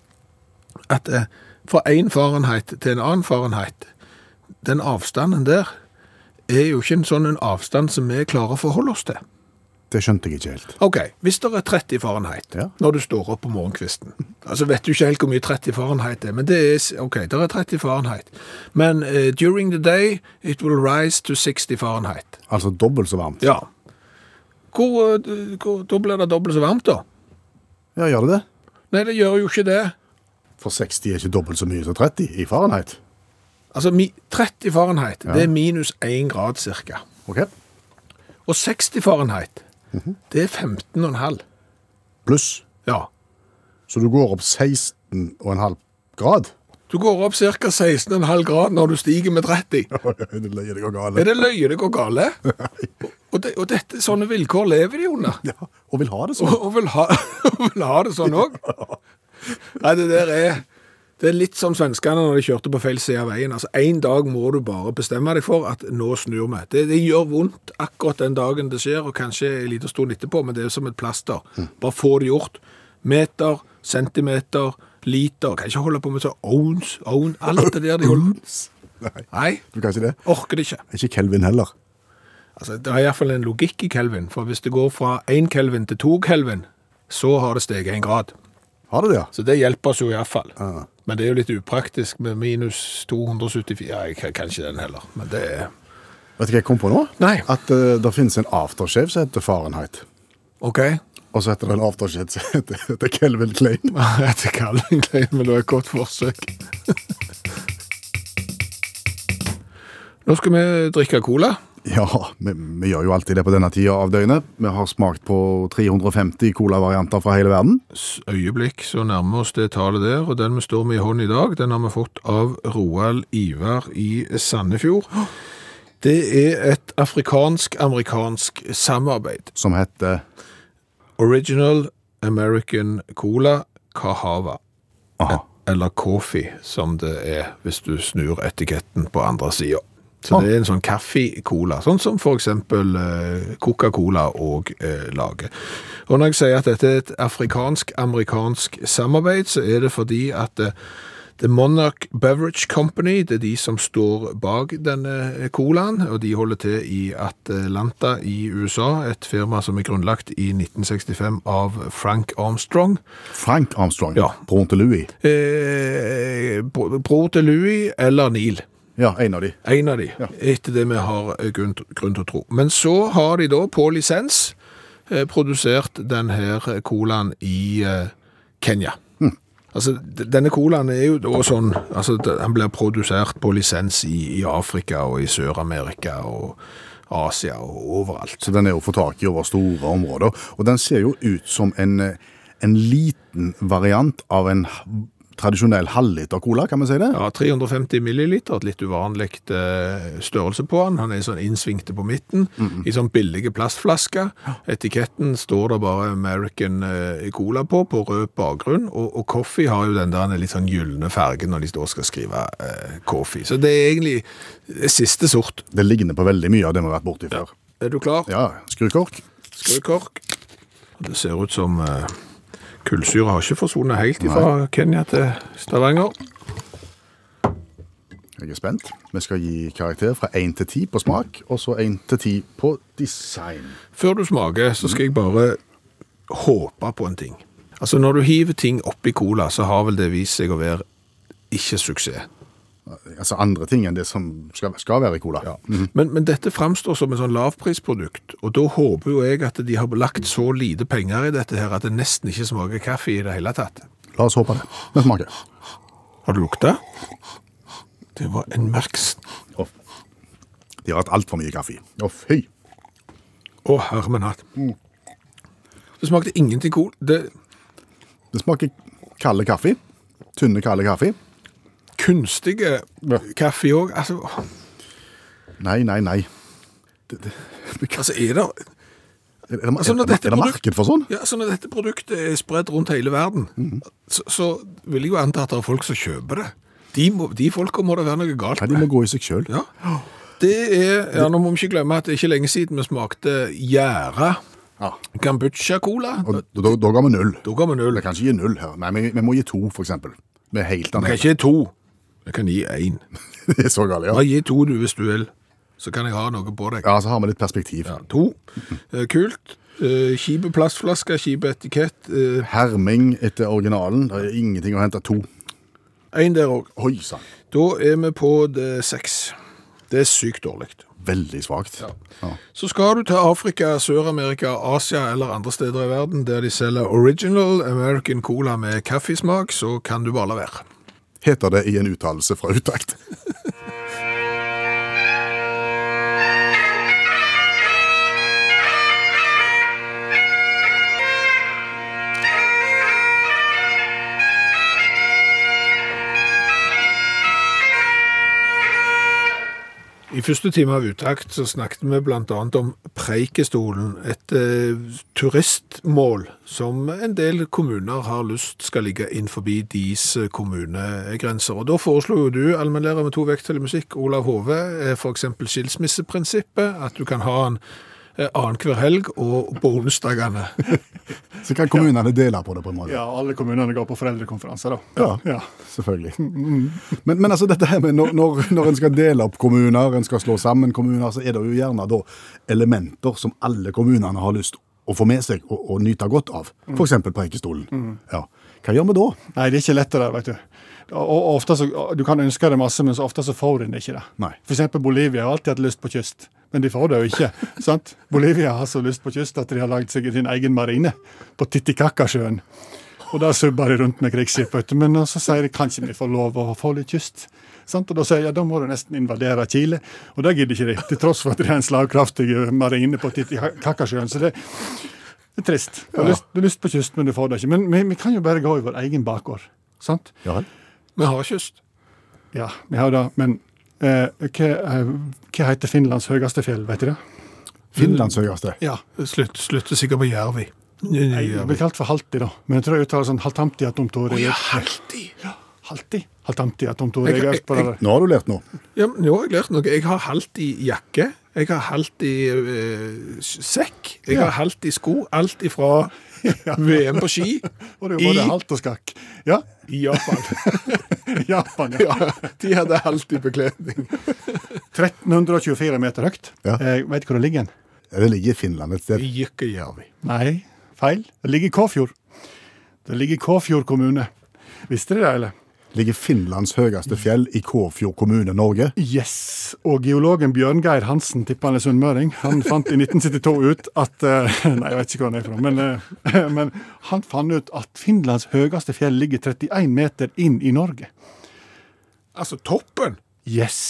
Speaker 2: At eh, fra en Fahrenheit til en annen Fahrenheit, den avstanden der, er jo ikke en sånn en avstand som vi klarer å forholde oss til.
Speaker 8: Det skjønte jeg ikke helt.
Speaker 2: Ok, hvis det er 30 Fahrenheit
Speaker 8: Ja.
Speaker 2: når du står opp på morgenkvisten, altså vet du ikke helt hvor mye 30 Fahrenheit er, men det er, s- ok, det er 30 Fahrenheit. Men eh, during the day, it will rise to 60 Fahrenheit.
Speaker 8: Altså dobbelt så varmt.
Speaker 2: Ja. Hvor, eh, d- hvor, da blir det dobbelt så varmt da?
Speaker 8: Ja, gjør det det?
Speaker 2: Nei, det gjør jo ikke det.
Speaker 8: For 60 er ikke dobbelt så mye som 30 i Fahrenheit.
Speaker 2: Altså, mi, 30 Fahrenheit,
Speaker 8: Ja.
Speaker 2: det er minus 1 grad cirka.
Speaker 8: Ok.
Speaker 2: Og 60 Fahrenheit, det er 15,5.
Speaker 8: Pluss.
Speaker 2: Ja.
Speaker 8: Så du går opp 16,5 grad? *laughs*
Speaker 2: Du går opp cirka 16,5 grad når du stiger med 30.
Speaker 8: det løy, det går
Speaker 2: Er
Speaker 8: galt.
Speaker 2: det løye det går gale? Og, det, og dette, sånne vilkår lever de under.
Speaker 8: Ja, og vil ha det
Speaker 2: *laughs* Og,
Speaker 8: sånn.
Speaker 2: og, vil ha, og vil ha det sånn òg. Nei, det der er Det er litt som svenskene når de kjørte på feil side av veien. Altså, En dag må du bare bestemme deg for at nå snur vi. Det, det gjør vondt akkurat den dagen det skjer, og kanskje en liten stund etterpå, men det er som et plaster. Bare få det gjort. Meter, centimeter, liter. Kan ikke holde på med sånn ounce, ounce, alt det der de holder Nei,
Speaker 8: Du kan ikke det?
Speaker 2: orker det ikke.
Speaker 8: Ikke Kelvin heller.
Speaker 2: Altså, det er iallfall en logikk i Kelvin, for hvis det går fra 1 Kelvin til 2 Kelvin, så har det steget en grad.
Speaker 8: Har det det, ja?
Speaker 2: Så det hjelper oss jo iallfall.
Speaker 8: Ja.
Speaker 2: Men det er jo litt upraktisk med minus 274 Ja, jeg kan kan ikke den heller, men det er
Speaker 8: Vet du hva jeg kom på nå?
Speaker 2: Nei.
Speaker 8: At eh, det finnes en aftershave som heter Fahrenheit.
Speaker 2: OK.
Speaker 8: Og så heter det en aftershit som heter heter Kelvin Klein.
Speaker 2: *laughs* Etter Calvin Klein, men det var et godt forsøk. *laughs* Nå skal vi drikke cola.
Speaker 8: Ja, vi, vi gjør jo alltid det på denne tida av døgnet. Vi har smakt på 350 colavarianter fra hele verden.
Speaker 2: S- Øyeblikk så nærmer vi oss det tallet der, og den vi står med i hånd i dag, den har vi fått av Roald Ivar i Sandefjord. Det er et afrikansk-amerikansk samarbeid.
Speaker 8: Som heter
Speaker 2: Original American Cola Kahava.
Speaker 8: Aha.
Speaker 2: Eller Kofi, som det er hvis du snur etiketten på andre sida. Så
Speaker 8: Ah.
Speaker 2: det er en sånn kaffe-cola, sånn som for eksempel eh, Coca-Cola og eh, lager. Og når jeg sier at dette er et afrikansk-amerikansk samarbeid, så er det fordi at eh, The Monarch Beverage Company, det er de som står bak denne eh, colaen, og de holder til i Atlanta i USA, et firma som er grunnlagt i 1965 av Frank Armstrong.
Speaker 8: Frank Armstrong.
Speaker 2: Ja.
Speaker 8: Broren til Louis.
Speaker 2: Eh, bro- bror til Louis eller Neil.
Speaker 8: Ja, en av de.
Speaker 2: En av de, etter det vi har eh, grunn, grunn til å tro. Men så har de da på lisens eh, produsert denne colaen i eh, Kenya. Altså, d- denne colaen er jo da sånn, altså d- den blir produsert på lisens i, i Afrika og i Sør-Amerika og Asia og overalt.
Speaker 8: Så den er jo å få tak i over store områder. Og den ser jo ut som en, eh, en liten variant av en h- tradisjonell halvliter cola, kan vi si det?
Speaker 2: Ja, 350 milliliter, et litt uvanlig eh, størrelse på han. Han er sånn innsvingte på midten, i sånn billige plastflasker. Etiketten står det bare American eh, Cola på, på rød bakgrunn, og, og coffee har jo den der den litt sånn gyllene fargen når de står og skal skrive eh, coffee. Så det er egentlig eh, siste sort.
Speaker 8: Det ligner på veldig mye av det vi har vært borti før.
Speaker 2: Er du klar?
Speaker 8: Ja, skrukork.
Speaker 2: Skrukork. Det ser ut som eh, kullsyre har ikke forsvunnet helt fra Kenya til Stavanger.
Speaker 8: Jeg er spent. Vi skal gi karakter fra 1 til 10 på smak, og så 1 til 10 på design.
Speaker 2: Før du smaker, så skal jeg bare håpe på en ting. Altså, når du hiver ting oppi cola, så har vel det vist seg å være ikke suksess.
Speaker 8: Altså andre ting enn det som skal, skal være i cola.
Speaker 2: Men, men dette framstår som en sånn lavprisprodukt, og da håper jo jeg at de har lagt så lite penger i dette her at det nesten ikke smaker kaffe i det hele tatt.
Speaker 8: La oss håpe det. Vi smaker.
Speaker 2: Har du lukta? Det var en merks...
Speaker 8: Å, De har hatt altfor mye kaffe. i. Å, fy!
Speaker 2: Å, herre min hatt. Det smakte ingenting cola. Det
Speaker 8: Det smaker kalde kaffe. Tynne, kalde kaffe.
Speaker 2: kunstige
Speaker 8: Ja.
Speaker 2: kaffe òg. Altså,
Speaker 8: Nei, nei, nei. *laughs*
Speaker 2: altså, er det
Speaker 8: Er, er,
Speaker 2: Altså, når
Speaker 8: er,
Speaker 2: dette
Speaker 8: er det
Speaker 2: produkt-
Speaker 8: marked for sånn?
Speaker 2: Ja, så når dette produktet er spredt rundt hele verden,
Speaker 8: Mm.
Speaker 2: så, så vil jeg jo anta at det er folk som kjøper det. De, må, de folka må det være noe galt
Speaker 8: Nei, de må gå i seg sjøl.
Speaker 2: Ja. Det er, ja, nå må vi ikke glemme at det er ikke lenge siden vi smakte gjæra
Speaker 8: Ja.
Speaker 2: kombucha-cola.
Speaker 8: Og da, da, da ga vi null.
Speaker 2: Da ga vi null.
Speaker 8: Vi kan ikke gi null her. Nei, vi, vi må gi to, for eksempel. Vi er helt
Speaker 2: Jeg kan
Speaker 8: annerledes. *laughs*
Speaker 2: ikke gi to. Jeg kan gi én.
Speaker 8: Det er så galt, ja.
Speaker 2: Bare gi to du hvis du vil, så kan jeg ha noe på deg.
Speaker 8: Ja, så har vi litt perspektiv.
Speaker 2: Ja, to. Eh, Kult. Eh, Kjipe plastflasker, kjipe etikett. Eh,
Speaker 8: Herming etter originalen. Det er ingenting å hente. To.
Speaker 2: Én der òg.
Speaker 8: Oi sann.
Speaker 2: Da er vi på det seks. Det er sykt dårlig.
Speaker 8: Veldig svakt. Ja.
Speaker 2: Så skal du til Afrika, Sør-Amerika, Asia eller andre steder i verden der de selger original American cola med kaffesmak, så kan du bare la være.
Speaker 8: Heter det i en uttalelse fra Utakt.
Speaker 2: I første time av Utakt så snakket vi bl.a. om Preikestolen, et eh, turistmål som en del kommuner har lyst skal ligge innenfor deres eh, kommunegrenser. Og Da foreslo jo du, allmennlærer med to vekttall i musikk, Olav Hove, eh, f.eks. skilsmisseprinsippet, at du kan ha en eh, annenhver helg og på onsdagene.
Speaker 8: Så kan kommunene dele på det på en måte.
Speaker 5: Ja, alle kommunene går på foreldrekonferanser, da.
Speaker 8: Ja.
Speaker 5: Ja. Mm,
Speaker 8: Selvfølgelig. Men, men altså dette her med når, når, når en skal dele opp kommuner, en skal slå sammen kommuner, så er det jo gjerne da elementer som alle kommunene har lyst å få med seg og, og nyte godt av.
Speaker 5: Mm.
Speaker 8: F.eks. Preikestolen. Ja. Hva gjør vi da?
Speaker 5: Nei, det er ikke lettere, vet du. Og, og ofte så, Du kan ønske deg masse, men så ofte så får en ikke det.
Speaker 8: Nei.
Speaker 5: For eksempel Bolivia har alltid hatt lyst på kyst, men de får det jo ikke. sant? Bolivia har så lyst på kyst at de har lagd seg sin egen marine på Titicacasjøen. Og der subber de rundt med krigsskip, vet du. Men så sier de kanskje vi får lov å få litt kyst. Sant? Og da sier jeg, ja, da må du nesten invadere Chile. Og det gidder ikke de, til tross for at de har en slagkraftig marine på Titicacasjøen. Så det, det er trist. Du har, lyst, du har lyst på kyst, men du får det ikke. Men vi, vi kan jo bare gå i vår egen bakgård. sant?
Speaker 8: Ja vel.
Speaker 2: Vi har kyst.
Speaker 5: Ja, vi har det, men eh, hva, eh, hva heter Finlands høyeste fjell, vet du det?
Speaker 8: Finlands høyeste.
Speaker 5: Ja,
Speaker 2: Slutt, slutter sikkert på Jervi.
Speaker 5: Nei, det blir kalt for Halti, da. Men jeg tror jeg uttaler sånn Haltamti atomtori.
Speaker 2: Ja, alltid.
Speaker 5: Halti? Haltamti atomtori.
Speaker 2: Jeg-
Speaker 5: Jeg,
Speaker 2: jeg-
Speaker 5: jeg, jeg,
Speaker 8: Nå har du lært noe.
Speaker 2: Ja, men nå har jeg lært noe. Jeg har halvt i jakke. Jeg har halvt i eh, s- sekk. Jeg har halvt i sko. Alt ifra VM på ski
Speaker 5: og det er jo
Speaker 2: I-
Speaker 5: både halt og skakk. Ja,
Speaker 2: i Japan.
Speaker 5: Japan, ja.
Speaker 2: ja, *laughs* de hadde halvt i bekledning.
Speaker 5: 1324 meter høyt.
Speaker 8: Ja.
Speaker 5: Eh, vet du hvor det ligger? en?
Speaker 8: Det ligger i Finland et sted.
Speaker 2: Jikkejärvi.
Speaker 5: Nei, feil. Det ligger i Kåfjord. Det ligger i Kåfjord kommune. Visste dere det, eller?
Speaker 8: Ligger Finlands høyeste fjell i Kåfjord kommune, Norge.
Speaker 5: Yes, og geologen Bjørngeir Hansen, tipper han er sunnmøring, han fant i 1972 ut at eh, *laughs* Nei, jeg vet ikke hvor han er fra, men, eh, *laughs* men han fant ut at Finlands høyeste fjell ligger 31 meter inn i Norge.
Speaker 2: Altså toppen!
Speaker 5: Yes.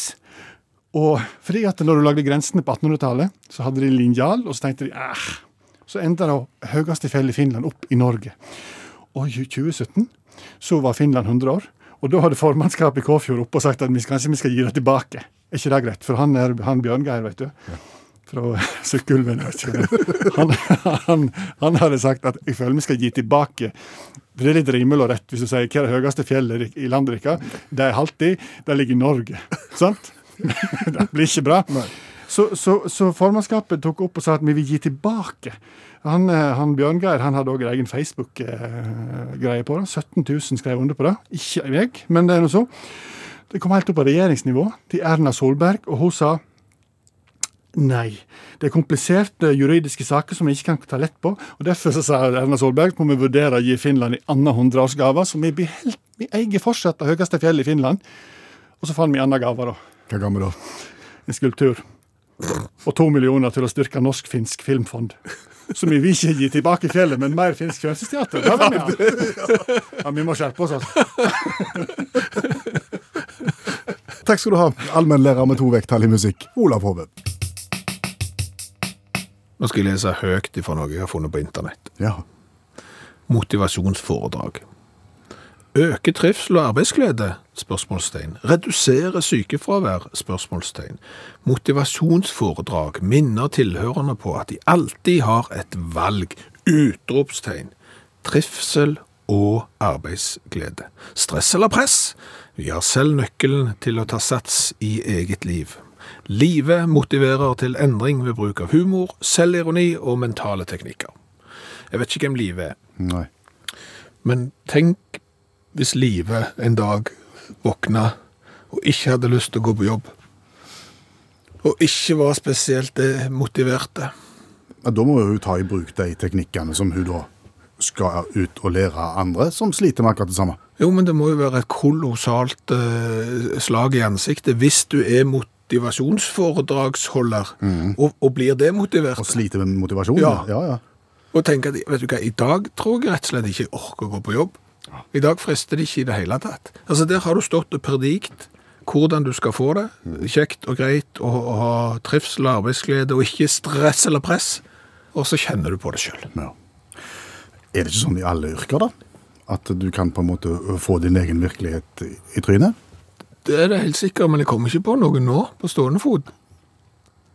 Speaker 5: Og fordi at når du lagde grensene på 1800-tallet, så hadde de linjal, og så tenkte de eh, Så endte det høyeste fjellet i Finland opp i Norge. Og i 2017 så var Finland 100 år, og da hadde formannskapet i Kåfjord oppe og sagt at vi skal, kanskje vi skal gi det tilbake. Er ikke det greit? For han er han Bjørngeir, vet du. Fra *laughs* Sykkylven. jeg vet ikke hva det er. Han, han, han hadde sagt at jeg føler vi skal gi tilbake for Det er litt rimelig og rett hvis du sier hva er det høyeste fjellet i- i landet deres? Det er Halti, det ligger i Norge. Sant? det blir ikke bra. Så, så, så formannskapet tok opp og sa at vi vil gi tilbake. Han, eh, han Bjørngeir han hadde òg egen Facebook-greie på det. 17 000 skrev under på det. Ikke jeg, men det er nå så. Det kom helt opp på regjeringsnivå til Erna Solberg, og hun sa Nei. Det er kompliserte juridiske saker som vi ikke kan ta lett på. og Derfor så sa Erna Solberg må vi vurdere å gi Finland en annen hundreårsgave. Så vi, blir helt, vi eier fortsatt det høyeste fjellet i Finland. Og så fant vi en annen gave, da.
Speaker 8: Hva gammel da?
Speaker 5: En skulptur. Og to millioner til å styrke Norsk-finsk filmfond. Som vi vil ikke gi tilbake i fjellet, men mer finsk fjernsynsteater. Det vil vi ha. Ja, vi må skjerpe oss, altså.
Speaker 8: Takk skal du ha, allmennlærer med to vekttall i musikk, Olav Hove.
Speaker 2: Nå skal jeg lese høyt ifra noe jeg har funnet på internett.
Speaker 8: Ja.
Speaker 2: Motivasjonsforedrag. Øke trivsel og arbeidsglede? Spørsmålstegn. Redusere sykefravær? Spørsmålstegn. Motivasjonsforedrag minner tilhørende på at de alltid har et valg. Utropstegn. Trivsel og arbeidsglede. Stress eller press? Vi har selv nøkkelen til å ta sats i eget liv. Livet motiverer til endring ved bruk av humor, selvironi og mentale teknikker. Jeg vet ikke hvem livet er.
Speaker 8: Nei.
Speaker 2: Men tenk hvis livet en dag våkna og ikke hadde lyst til å gå på jobb. Og ikke var spesielt eh, motiverte.
Speaker 8: Ja, Da må hun ta i bruk de teknikkene som hun da skal ut og lære av andre, som sliter med akkurat det samme.
Speaker 2: Jo, men det må jo være et kolossalt eh, slag i ansiktet hvis du er motivasjonsforedragsholder og, og blir demotivert.
Speaker 8: Mm. Og sliter med motivasjonen.
Speaker 2: Ja.
Speaker 8: ja, ja.
Speaker 2: Og tenker at vet du hva, i dag tror jeg rett og slett ikke jeg orker å gå på jobb. I dag frister det ikke i det hele tatt. Altså Der har du stått og predikt hvordan du skal få det. Kjekt og greit og, og ha trivsel og arbeidsglede og ikke stress eller press. Og så kjenner du på det sjøl.
Speaker 8: Ja. Er det ikke sånn i alle yrker, da? At du kan på en måte få din egen virkelighet i- i trynet?
Speaker 2: Det er det helt sikkert, men jeg kommer ikke på noe nå på stående fot.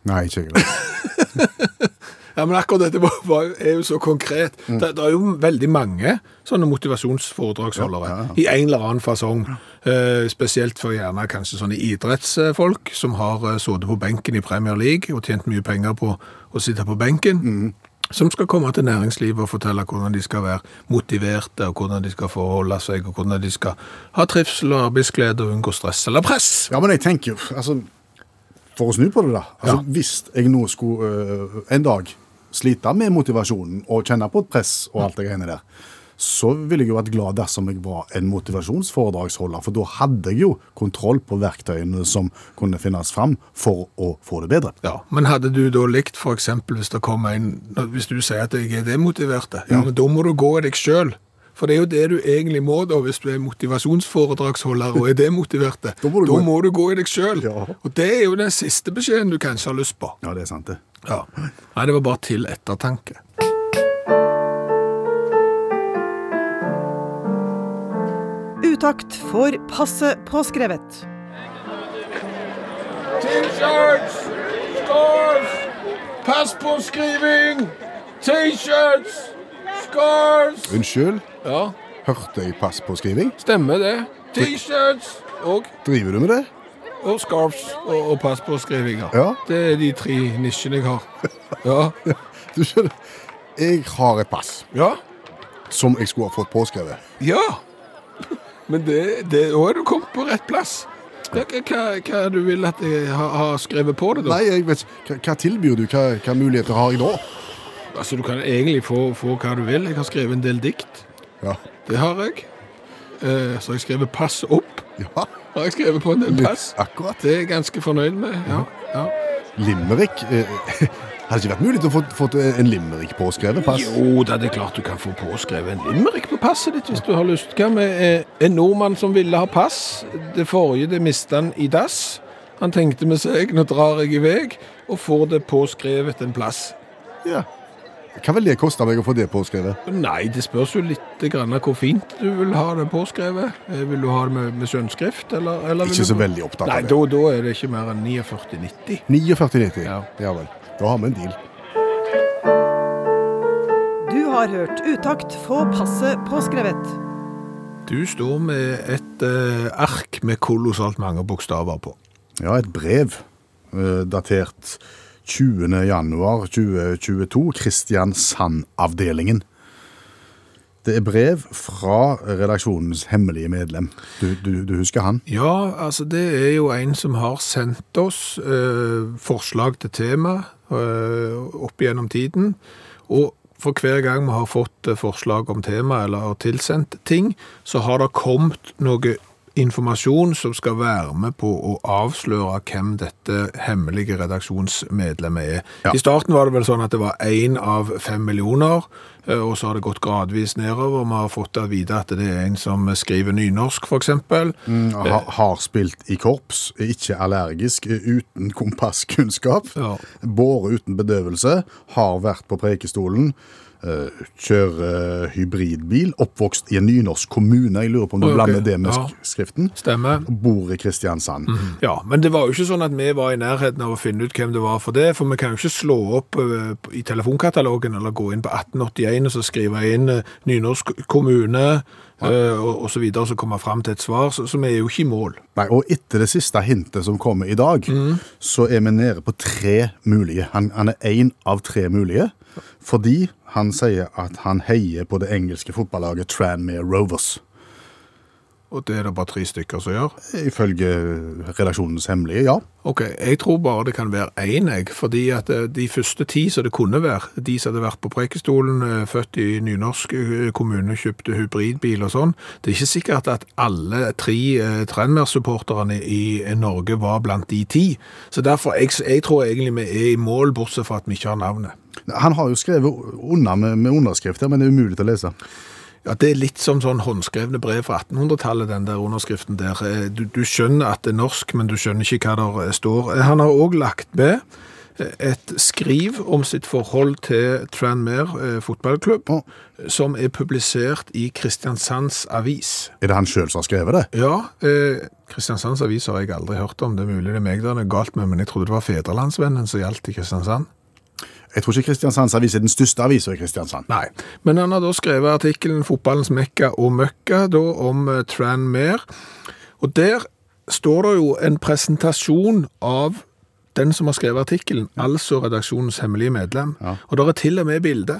Speaker 8: Nei, ikke jeg.
Speaker 2: Ja, men akkurat dette var, var, jo- er jo så konkret. Det, det er jo veldig mange sånne motivasjonsforedragsholdere i en eller annen fasong. Eh, spesielt for gjerne kanskje sånne idrettsfolk som har eh, sittet på benken i Premier League og tjent mye penger på å sitte på benken. Som skal komme til næringslivet og fortelle hvordan de skal være motiverte, og hvordan de skal forholde seg, og hvordan de skal ha trivsel og arbeidsglede og unngå stress eller press.
Speaker 8: *laughs* Ja, men jeg tenker jo, altså, for å snu på det da, altså,
Speaker 2: Ja.
Speaker 8: hvis jeg nå eh, skulle øh, en dag slite med motivasjonen og kjenne på et press og alt det greiene der, så ville jeg jo vært glad dersom jeg var en motivasjonsforedragsholder, for da hadde jeg jo kontroll på verktøyene som kunne finnes fram for å få det bedre.
Speaker 2: Ja, Men hadde du da likt for eksempel hvis det kom en Hvis du sier at jeg er demotivert,
Speaker 8: Mm.
Speaker 2: ja, men da må du gå i deg sjøl. For det er jo det du egentlig må da, hvis du er motivasjonsforedragsholder og er demotivert.
Speaker 8: *laughs* Da må du gå i-
Speaker 2: gå i deg sjøl.
Speaker 8: Ja.
Speaker 2: Og det er jo den siste beskjeden du kanskje har lyst på.
Speaker 8: Ja, det er sant det.
Speaker 2: Ja. Nei, det var bare til ettertanke.
Speaker 10: Utakt får passet påskrevet.
Speaker 2: T-shirts! Scarf! Pass på skriving! T-shirts! Scarf!
Speaker 11: Unnskyld,
Speaker 2: Ja,
Speaker 11: hørte jeg pass på skriving?
Speaker 2: stemmer det. T-shirts og,
Speaker 11: Driver du med det?
Speaker 2: og scarves og, og pass på skrivinger.
Speaker 11: Ja.
Speaker 2: Det er de tre nisjene jeg har. Ja.
Speaker 11: Du skjønner, jeg har et pass
Speaker 2: Ja.
Speaker 11: som jeg skulle ha fått påskrevet.
Speaker 2: ja. Men det, det, nå er du kommet på rett plass. Ja, Hva, hva, hva du vil at jeg har har skrevet på det, da?
Speaker 11: Nei, jeg vet ikke. Hva- Hva tilbyr du? Hva, hva muligheter har jeg nå?
Speaker 2: Altså, Du kan egentlig få, få hva du vil. Jeg har skrevet en del dikt.
Speaker 11: Ja.
Speaker 2: Det har jeg. Eh, så har jeg skrevet 'pass opp'.
Speaker 11: ja.
Speaker 2: Har jeg skrevet på en del pass.
Speaker 11: Akkurat.
Speaker 2: Det er jeg ganske fornøyd med. Ja, ja.
Speaker 11: Limerick. eh, *laughs* Hadde ikke vært mulig til å få fått en limerick påskrevet pass?
Speaker 2: Jo da, det er klart du kan få påskrevet en limerick på passet ditt hvis du har lyst. Hva med eh, en nordmann som ville ha pass? Det forrige det mista han i dass. Han tenkte med seg nå drar jeg i vei, og får det påskrevet en plass.
Speaker 11: Ja. Hva vil det koste meg å få det påskrevet?
Speaker 2: Nei, det spørs jo litt grann hvor fint du vil ha det påskrevet. Eh, Vil du ha det med, med sønnskrift, eller, eller vil
Speaker 11: Ikke
Speaker 2: du-
Speaker 11: så veldig opptatt
Speaker 2: Nei,
Speaker 11: av det.
Speaker 2: da, da er det ikke mer enn 49,90.
Speaker 11: 49,90.
Speaker 2: Ja.
Speaker 11: ja vel. Da har vi en deal.
Speaker 10: Du har hørt Utakt få passet påskrevet.
Speaker 2: Du står med et eh, ark med kolossalt mange bokstaver på.
Speaker 8: Ja, et brev eh, datert 20. januar 2022, Kristiansand-avdelingen. Det er brev fra redaksjonens hemmelige medlem. Du, du, du husker han?
Speaker 2: Ja, altså det er jo en som har sendt oss eh, forslag til tema eh, opp gjennom tiden. Og for hver gang vi har fått eh, forslag om tema eller har tilsendt ting, så har det kommet noe informasjon som skal være med på å avsløre hvem dette hemmelige redaksjonsmedlemmet er.
Speaker 8: Ja.
Speaker 2: I starten var det vel sånn at det var én av fem millioner, eh, og så har det gått gradvis nedover. Vi har fått å vite at det er en som skriver nynorsk, for eksempel.
Speaker 8: Ha, har spilt i korps, er ikke allergisk, er uten kompasskunnskap.
Speaker 2: Ja.
Speaker 8: Båret uten bedøvelse, har vært på Preikestolen. eh, Kjører hybridbil, oppvokst i en nynorsk kommune. Jeg lurer på om du
Speaker 2: Oi, ok.
Speaker 8: blander det med
Speaker 2: Ja. Mhm.
Speaker 8: sk- skriften.
Speaker 2: Stemmer.
Speaker 8: Bor i Kristiansand.
Speaker 2: Ja, men det var jo ikke sånn at vi var i nærheten av å finne ut hvem det var for det, for vi kan jo ikke slå opp eh, i telefonkatalogen eller gå inn på 1881 og så skrive inn eh, nynorsk kommune eh, og, og så videre, og så komme fram til et svar, så, så vi er jo ikke i mål.
Speaker 8: Nei, og etter det siste hintet som kommer i dag,
Speaker 2: Mm.
Speaker 8: så er vi nede på tre mulige. Han, han er én av tre mulige, fordi han sier at han heier på det engelske fotballaget Tranmere Rovers.
Speaker 2: Og det er det bare tre stykker som gjør.
Speaker 8: Ifølge redaksjonens hemmelige, ja.
Speaker 2: Ok, jeg tror bare det kan være én, jeg. Fordi at eh, de første ti som det kunne være, de som hadde vært på Preikestolen, eh, født i nynorsk eh, kommune, kjøpte hybridbil og sånn, det er ikke sikkert at alle tre eh, Tranmere-supporterne i eh, Norge var blant de ti. Så derfor, jeg, jeg tror egentlig vi er i mål, bortsett fra at vi ikke har navnet.
Speaker 8: Han har jo skrevet under med, med underskrifter, men det er umulig til å lese.
Speaker 2: Ja, Det er litt som sånn håndskrevne brev fra 1800-tallet, den der underskriften der. Eh, Du, du skjønner at det er norsk, men du skjønner ikke hva der står. Eh, Han har òg lagt med eh, et skriv om sitt forhold til Tranmere eh, fotballklubb,
Speaker 8: Å.
Speaker 2: som er publisert i Kristiansands Avis.
Speaker 8: Er det han sjøl som har skrevet det?
Speaker 2: Ja, eh, Kristiansands Avis har jeg aldri hørt om. Det er mulig det er meg det er galt med, men jeg trodde det var Fedrelandsvennen som gjaldt i Kristiansand.
Speaker 8: Jeg tror ikke Kristiansands Avis er den største avisa i Kristiansand.
Speaker 2: Nei, men han har da skrevet artikkelen 'Fotballens Mekka og Møkka' da om eh, Tranmere. Og der står det jo en presentasjon av den som har skrevet artikkelen, altså redaksjonens hemmelige medlem. Og der er til og med bilde.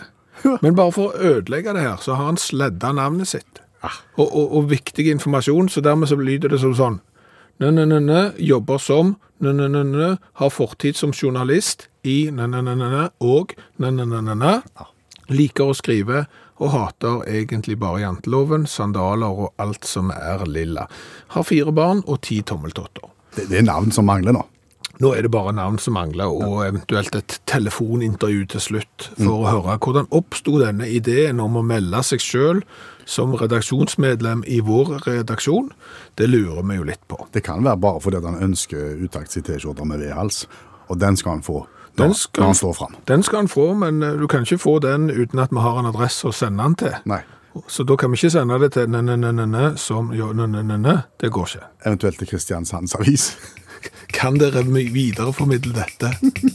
Speaker 2: Men bare for å ødelegge det her, så har han sledda navnet sitt. Og, og, og viktig informasjon, så dermed så lyder det som sånn Nø-nø-nø-nø, jobber som Nø-nø-nø-nø, har fortid som journalist i Nø-nø-nø-nø og Nø-nø-nø-nø. Liker å skrive og hater egentlig bare janteloven, sandaler og alt som er lilla. Har fire barn og ti tommeltotter.
Speaker 8: Det, det er navn som mangler nå.
Speaker 2: Nå er det bare navn som mangler, og eventuelt et telefonintervju til slutt, for å høre hvordan oppsto denne ideen om å melde seg sjøl som redaksjonsmedlem i vår redaksjon. Det lurer vi jo litt på.
Speaker 8: Det kan være bare fordi at han ønsker utakts i T-skjorter med V-hals, og den skal han få når,
Speaker 2: Den skal-
Speaker 8: når han står fram.
Speaker 2: Den skal han få, men eh, du kan ikke få den uten at vi har en adresse å sende den til.
Speaker 8: Nei.
Speaker 2: Så da kan vi ikke sende det til ne-ne-ne-ne som jo ne-ne-ne. Det går ikke.
Speaker 8: Eventuelt til Kristiansands Avis.
Speaker 2: Kan dere my- videreformidle dette? *laughs*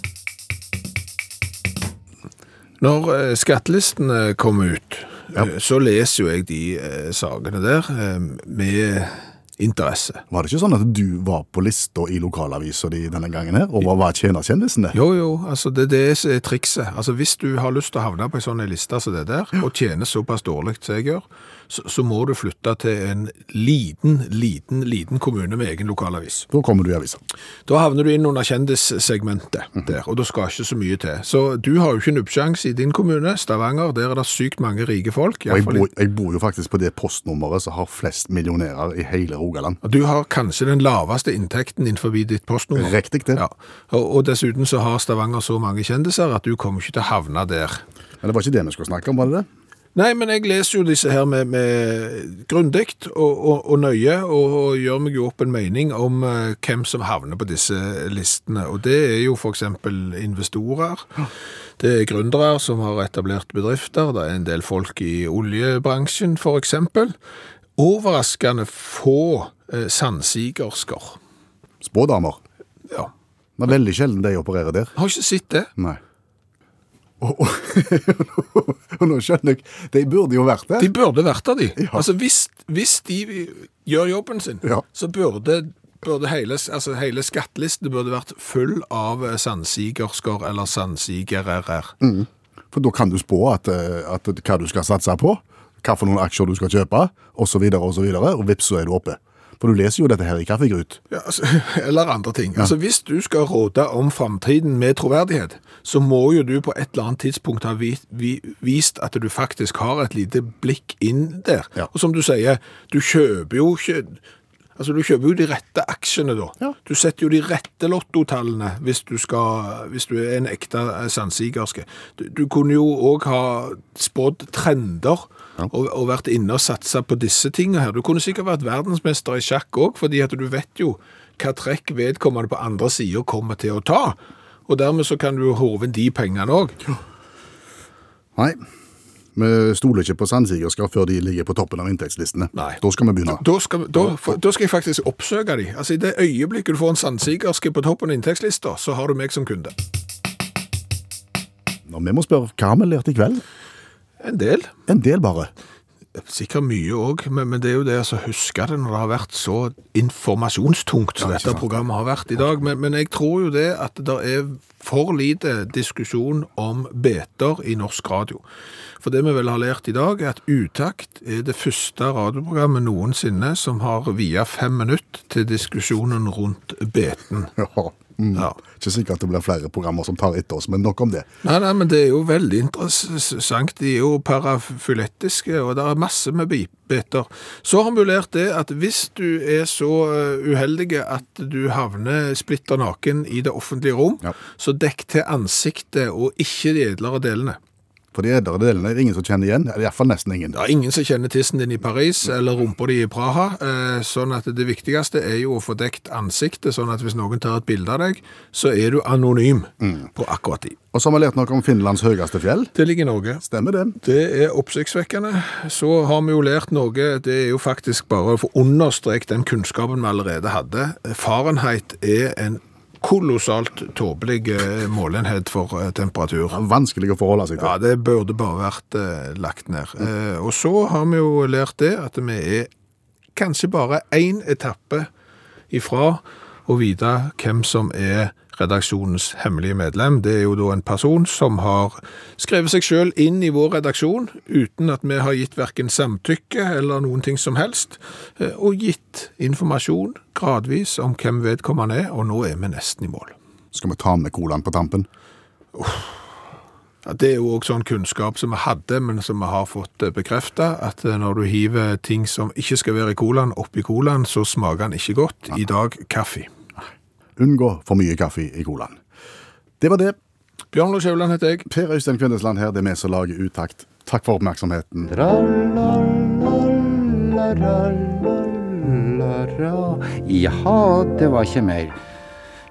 Speaker 2: Når eh, skattelistene kom ut, eh, så leser jo jeg de eh, sakene der eh, med interesse.
Speaker 8: Var det ikke sånn at du var på lista i lokalavisa di denne gangen her, og var- var tjenerkjendisen det?
Speaker 2: Jo, jo, altså det, det er s- trikset. Altså hvis du har lyst til å havne på en sånn liste som det der, og tjener såpass dårlig som jeg gjør, så, så må du flytte til en liten, liten, liten kommune med egen lokalavis.
Speaker 8: Da kommer du i avisa.
Speaker 2: Da havner du inn under kjendissegmentet
Speaker 8: Mhm.
Speaker 2: der, og da skal ikke så mye til. Så du har jo ikke nubbsjans i din kommune, Stavanger, der er det sykt mange rike folk. i
Speaker 8: Og
Speaker 2: hvert
Speaker 8: jeg
Speaker 2: fall i-
Speaker 8: bor, jeg bor jo faktisk på det postnummeret som har flest millionærer i hele Rogaland.
Speaker 2: Og Du har kanskje den laveste inntekten innenfor ditt postnummer.
Speaker 8: Riktig det.
Speaker 2: Ja. Og, og dessuten så har Stavanger så mange kjendiser at du kommer ikke til å havne der.
Speaker 8: Men det var ikke det vi skulle snakke om, var det det?
Speaker 2: Nei, men jeg leser jo disse her med, med grundigt og, og, og nøye, og, og gjør meg jo opp en mening om eh, hvem som havner på disse listene. Og det er jo for eksempel investorer, det er gründere som har etablert bedrifter, det er en del folk i oljebransjen for eksempel. Overraskende få eh, sandsigersker.
Speaker 8: Spådamer.
Speaker 2: Ja.
Speaker 8: Det er veldig sjelden de opererer der.
Speaker 2: Har ikke sett det.
Speaker 8: Nei. Og, og, *laughs* og nå skjønner jeg, de burde jo vært der.
Speaker 2: De burde vært der, de.
Speaker 8: *laughs*
Speaker 2: Altså, hvis, hvis de gjør jobben sin,
Speaker 8: Ja.
Speaker 2: så burde, burde hele, altså, hele skattelisten burde vært full av eh, sandsigersker eller sandsigerer.
Speaker 8: Mm. For da kan du spå at, eh, at hva du skal satse på, hva for noen aksjer du skal kjøpe, osv., og så videre, og vips, så er du oppe. For du leser jo dette her i Kaffegrut.
Speaker 2: Ja, altså, *laughs* eller andre ting. Altså, hvis du skal råde om fremtiden med troverdighet, så må jo du på et eller annet tidspunkt ha vi, vi, vist at du faktisk har et lite blikk inn der.
Speaker 8: Ja.
Speaker 2: Og som du sier, du kjøper jo ikke Altså, Du kjøper jo de rette aksjene, da.
Speaker 8: Ja.
Speaker 2: Du setter jo de rette lottotallene hvis du, skal, hvis du er en ekte eh, sandsigerske. Du, du kunne jo òg ha spådd trender og, og vært inne og satsa på disse tingene her. Du kunne sikkert vært verdensmester i sjakk òg, fordi at du vet jo hva trekk vedkommende på andre sida kommer til å ta. Og dermed så kan du jo håve inn de pengene òg.
Speaker 8: Nei. Vi stoler ikke på sandsigersker før de ligger på toppen av inntektslistene.
Speaker 2: Nei.
Speaker 8: Da skal vi begynne.
Speaker 2: Da skal, da, for, da skal jeg faktisk oppsøke de. Altså, I det øyeblikket du får en sandsigerske på toppen av inntektslista, så har du meg som kunde.
Speaker 8: Nå, vi må spørre hva har vi lært i kveld.
Speaker 2: En del.
Speaker 8: En del, bare.
Speaker 2: Sikkert mye òg, men, men det er jo det å altså, huske det når det har vært så informasjonstungt som
Speaker 8: Ja, ikke
Speaker 2: dette
Speaker 8: sant.
Speaker 2: programmet har vært i dag. Men, men jeg tror jo det at det er for lite diskusjon om beter i norsk radio. For det vi vel har lært i dag, er at Utakt er det første radioprogrammet noensinne som har via fem minutter til diskusjonen rundt beten.
Speaker 8: *laughs* Ja. Mm.
Speaker 2: Ja.
Speaker 8: Ikke sikkert at det blir flere programmer som tar etter oss, men nok om det.
Speaker 2: Nei, nei, men det er jo veldig interessant. De er jo parafyletiske, og det er masse med biter. Så har vi jo lært det at hvis du er så eh, uheldig at du havner splitter naken i det offentlige rom,
Speaker 8: Ja.
Speaker 2: så dekk til ansiktet og ikke de edlere delene.
Speaker 8: For de edlere delene er det ingen som kjenner igjen. eller i hvert fall nesten ingen.
Speaker 2: Det er ingen som kjenner tissen din i Paris eller rumpa di i Praha, eh, sånn at det viktigste er jo å få dekt ansiktet, sånn at hvis noen tar et bilde av deg, så er du anonym på akkurat de.
Speaker 8: Og så har vi lært noe om Finlands høyeste fjell.
Speaker 2: Det ligger i Norge.
Speaker 8: Stemmer det?
Speaker 2: Det er oppsiktsvekkende. Så har vi jo lært noe, det er jo faktisk bare å få understreket den kunnskapen vi allerede hadde. Fahrenheit er en kolossalt tåpelig eh, målenhet for eh, temperatur.
Speaker 8: Vanskelig å forholde seg til.
Speaker 2: Ja, det burde bare vært eh, lagt ned. Eh, og så har vi jo lært det at vi er kanskje bare én etappe ifra å vite hvem som er redaksjonens hemmelige medlem. Det er jo da en person som har skrevet seg sjøl inn i vår redaksjon uten at vi har gitt verken samtykke eller noen ting som helst, eh, og gitt informasjon gradvis om hvem vedkommende er, og nå er vi nesten i mål.
Speaker 8: Skal vi ta med colaen på tampen?
Speaker 2: Ja, Det er jo òg sånn kunnskap som vi hadde, men som vi har fått bekrefta, at eh, når du hiver ting som ikke skal være i colaen, oppi colaen, så smaker den ikke godt. I dag kaffe.
Speaker 8: Unngå for mye kaffe i colaen. Det var det.
Speaker 2: Bjørn Lars Haugland heter jeg.
Speaker 8: Per Øystein Kvindesland her, det er vi som lager Utakt. Takk for oppmerksomheten.
Speaker 3: Tra-la-la-la-la-la. Jaha, det var ikke mer.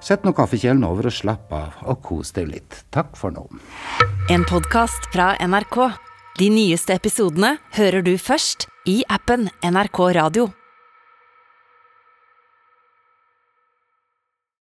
Speaker 3: Sett nå kaffekjelen over og slapp av, og kos deg litt. Takk for nå.
Speaker 1: En podkast fra NRK. De nyeste episodene hører du først i appen NRK Radio.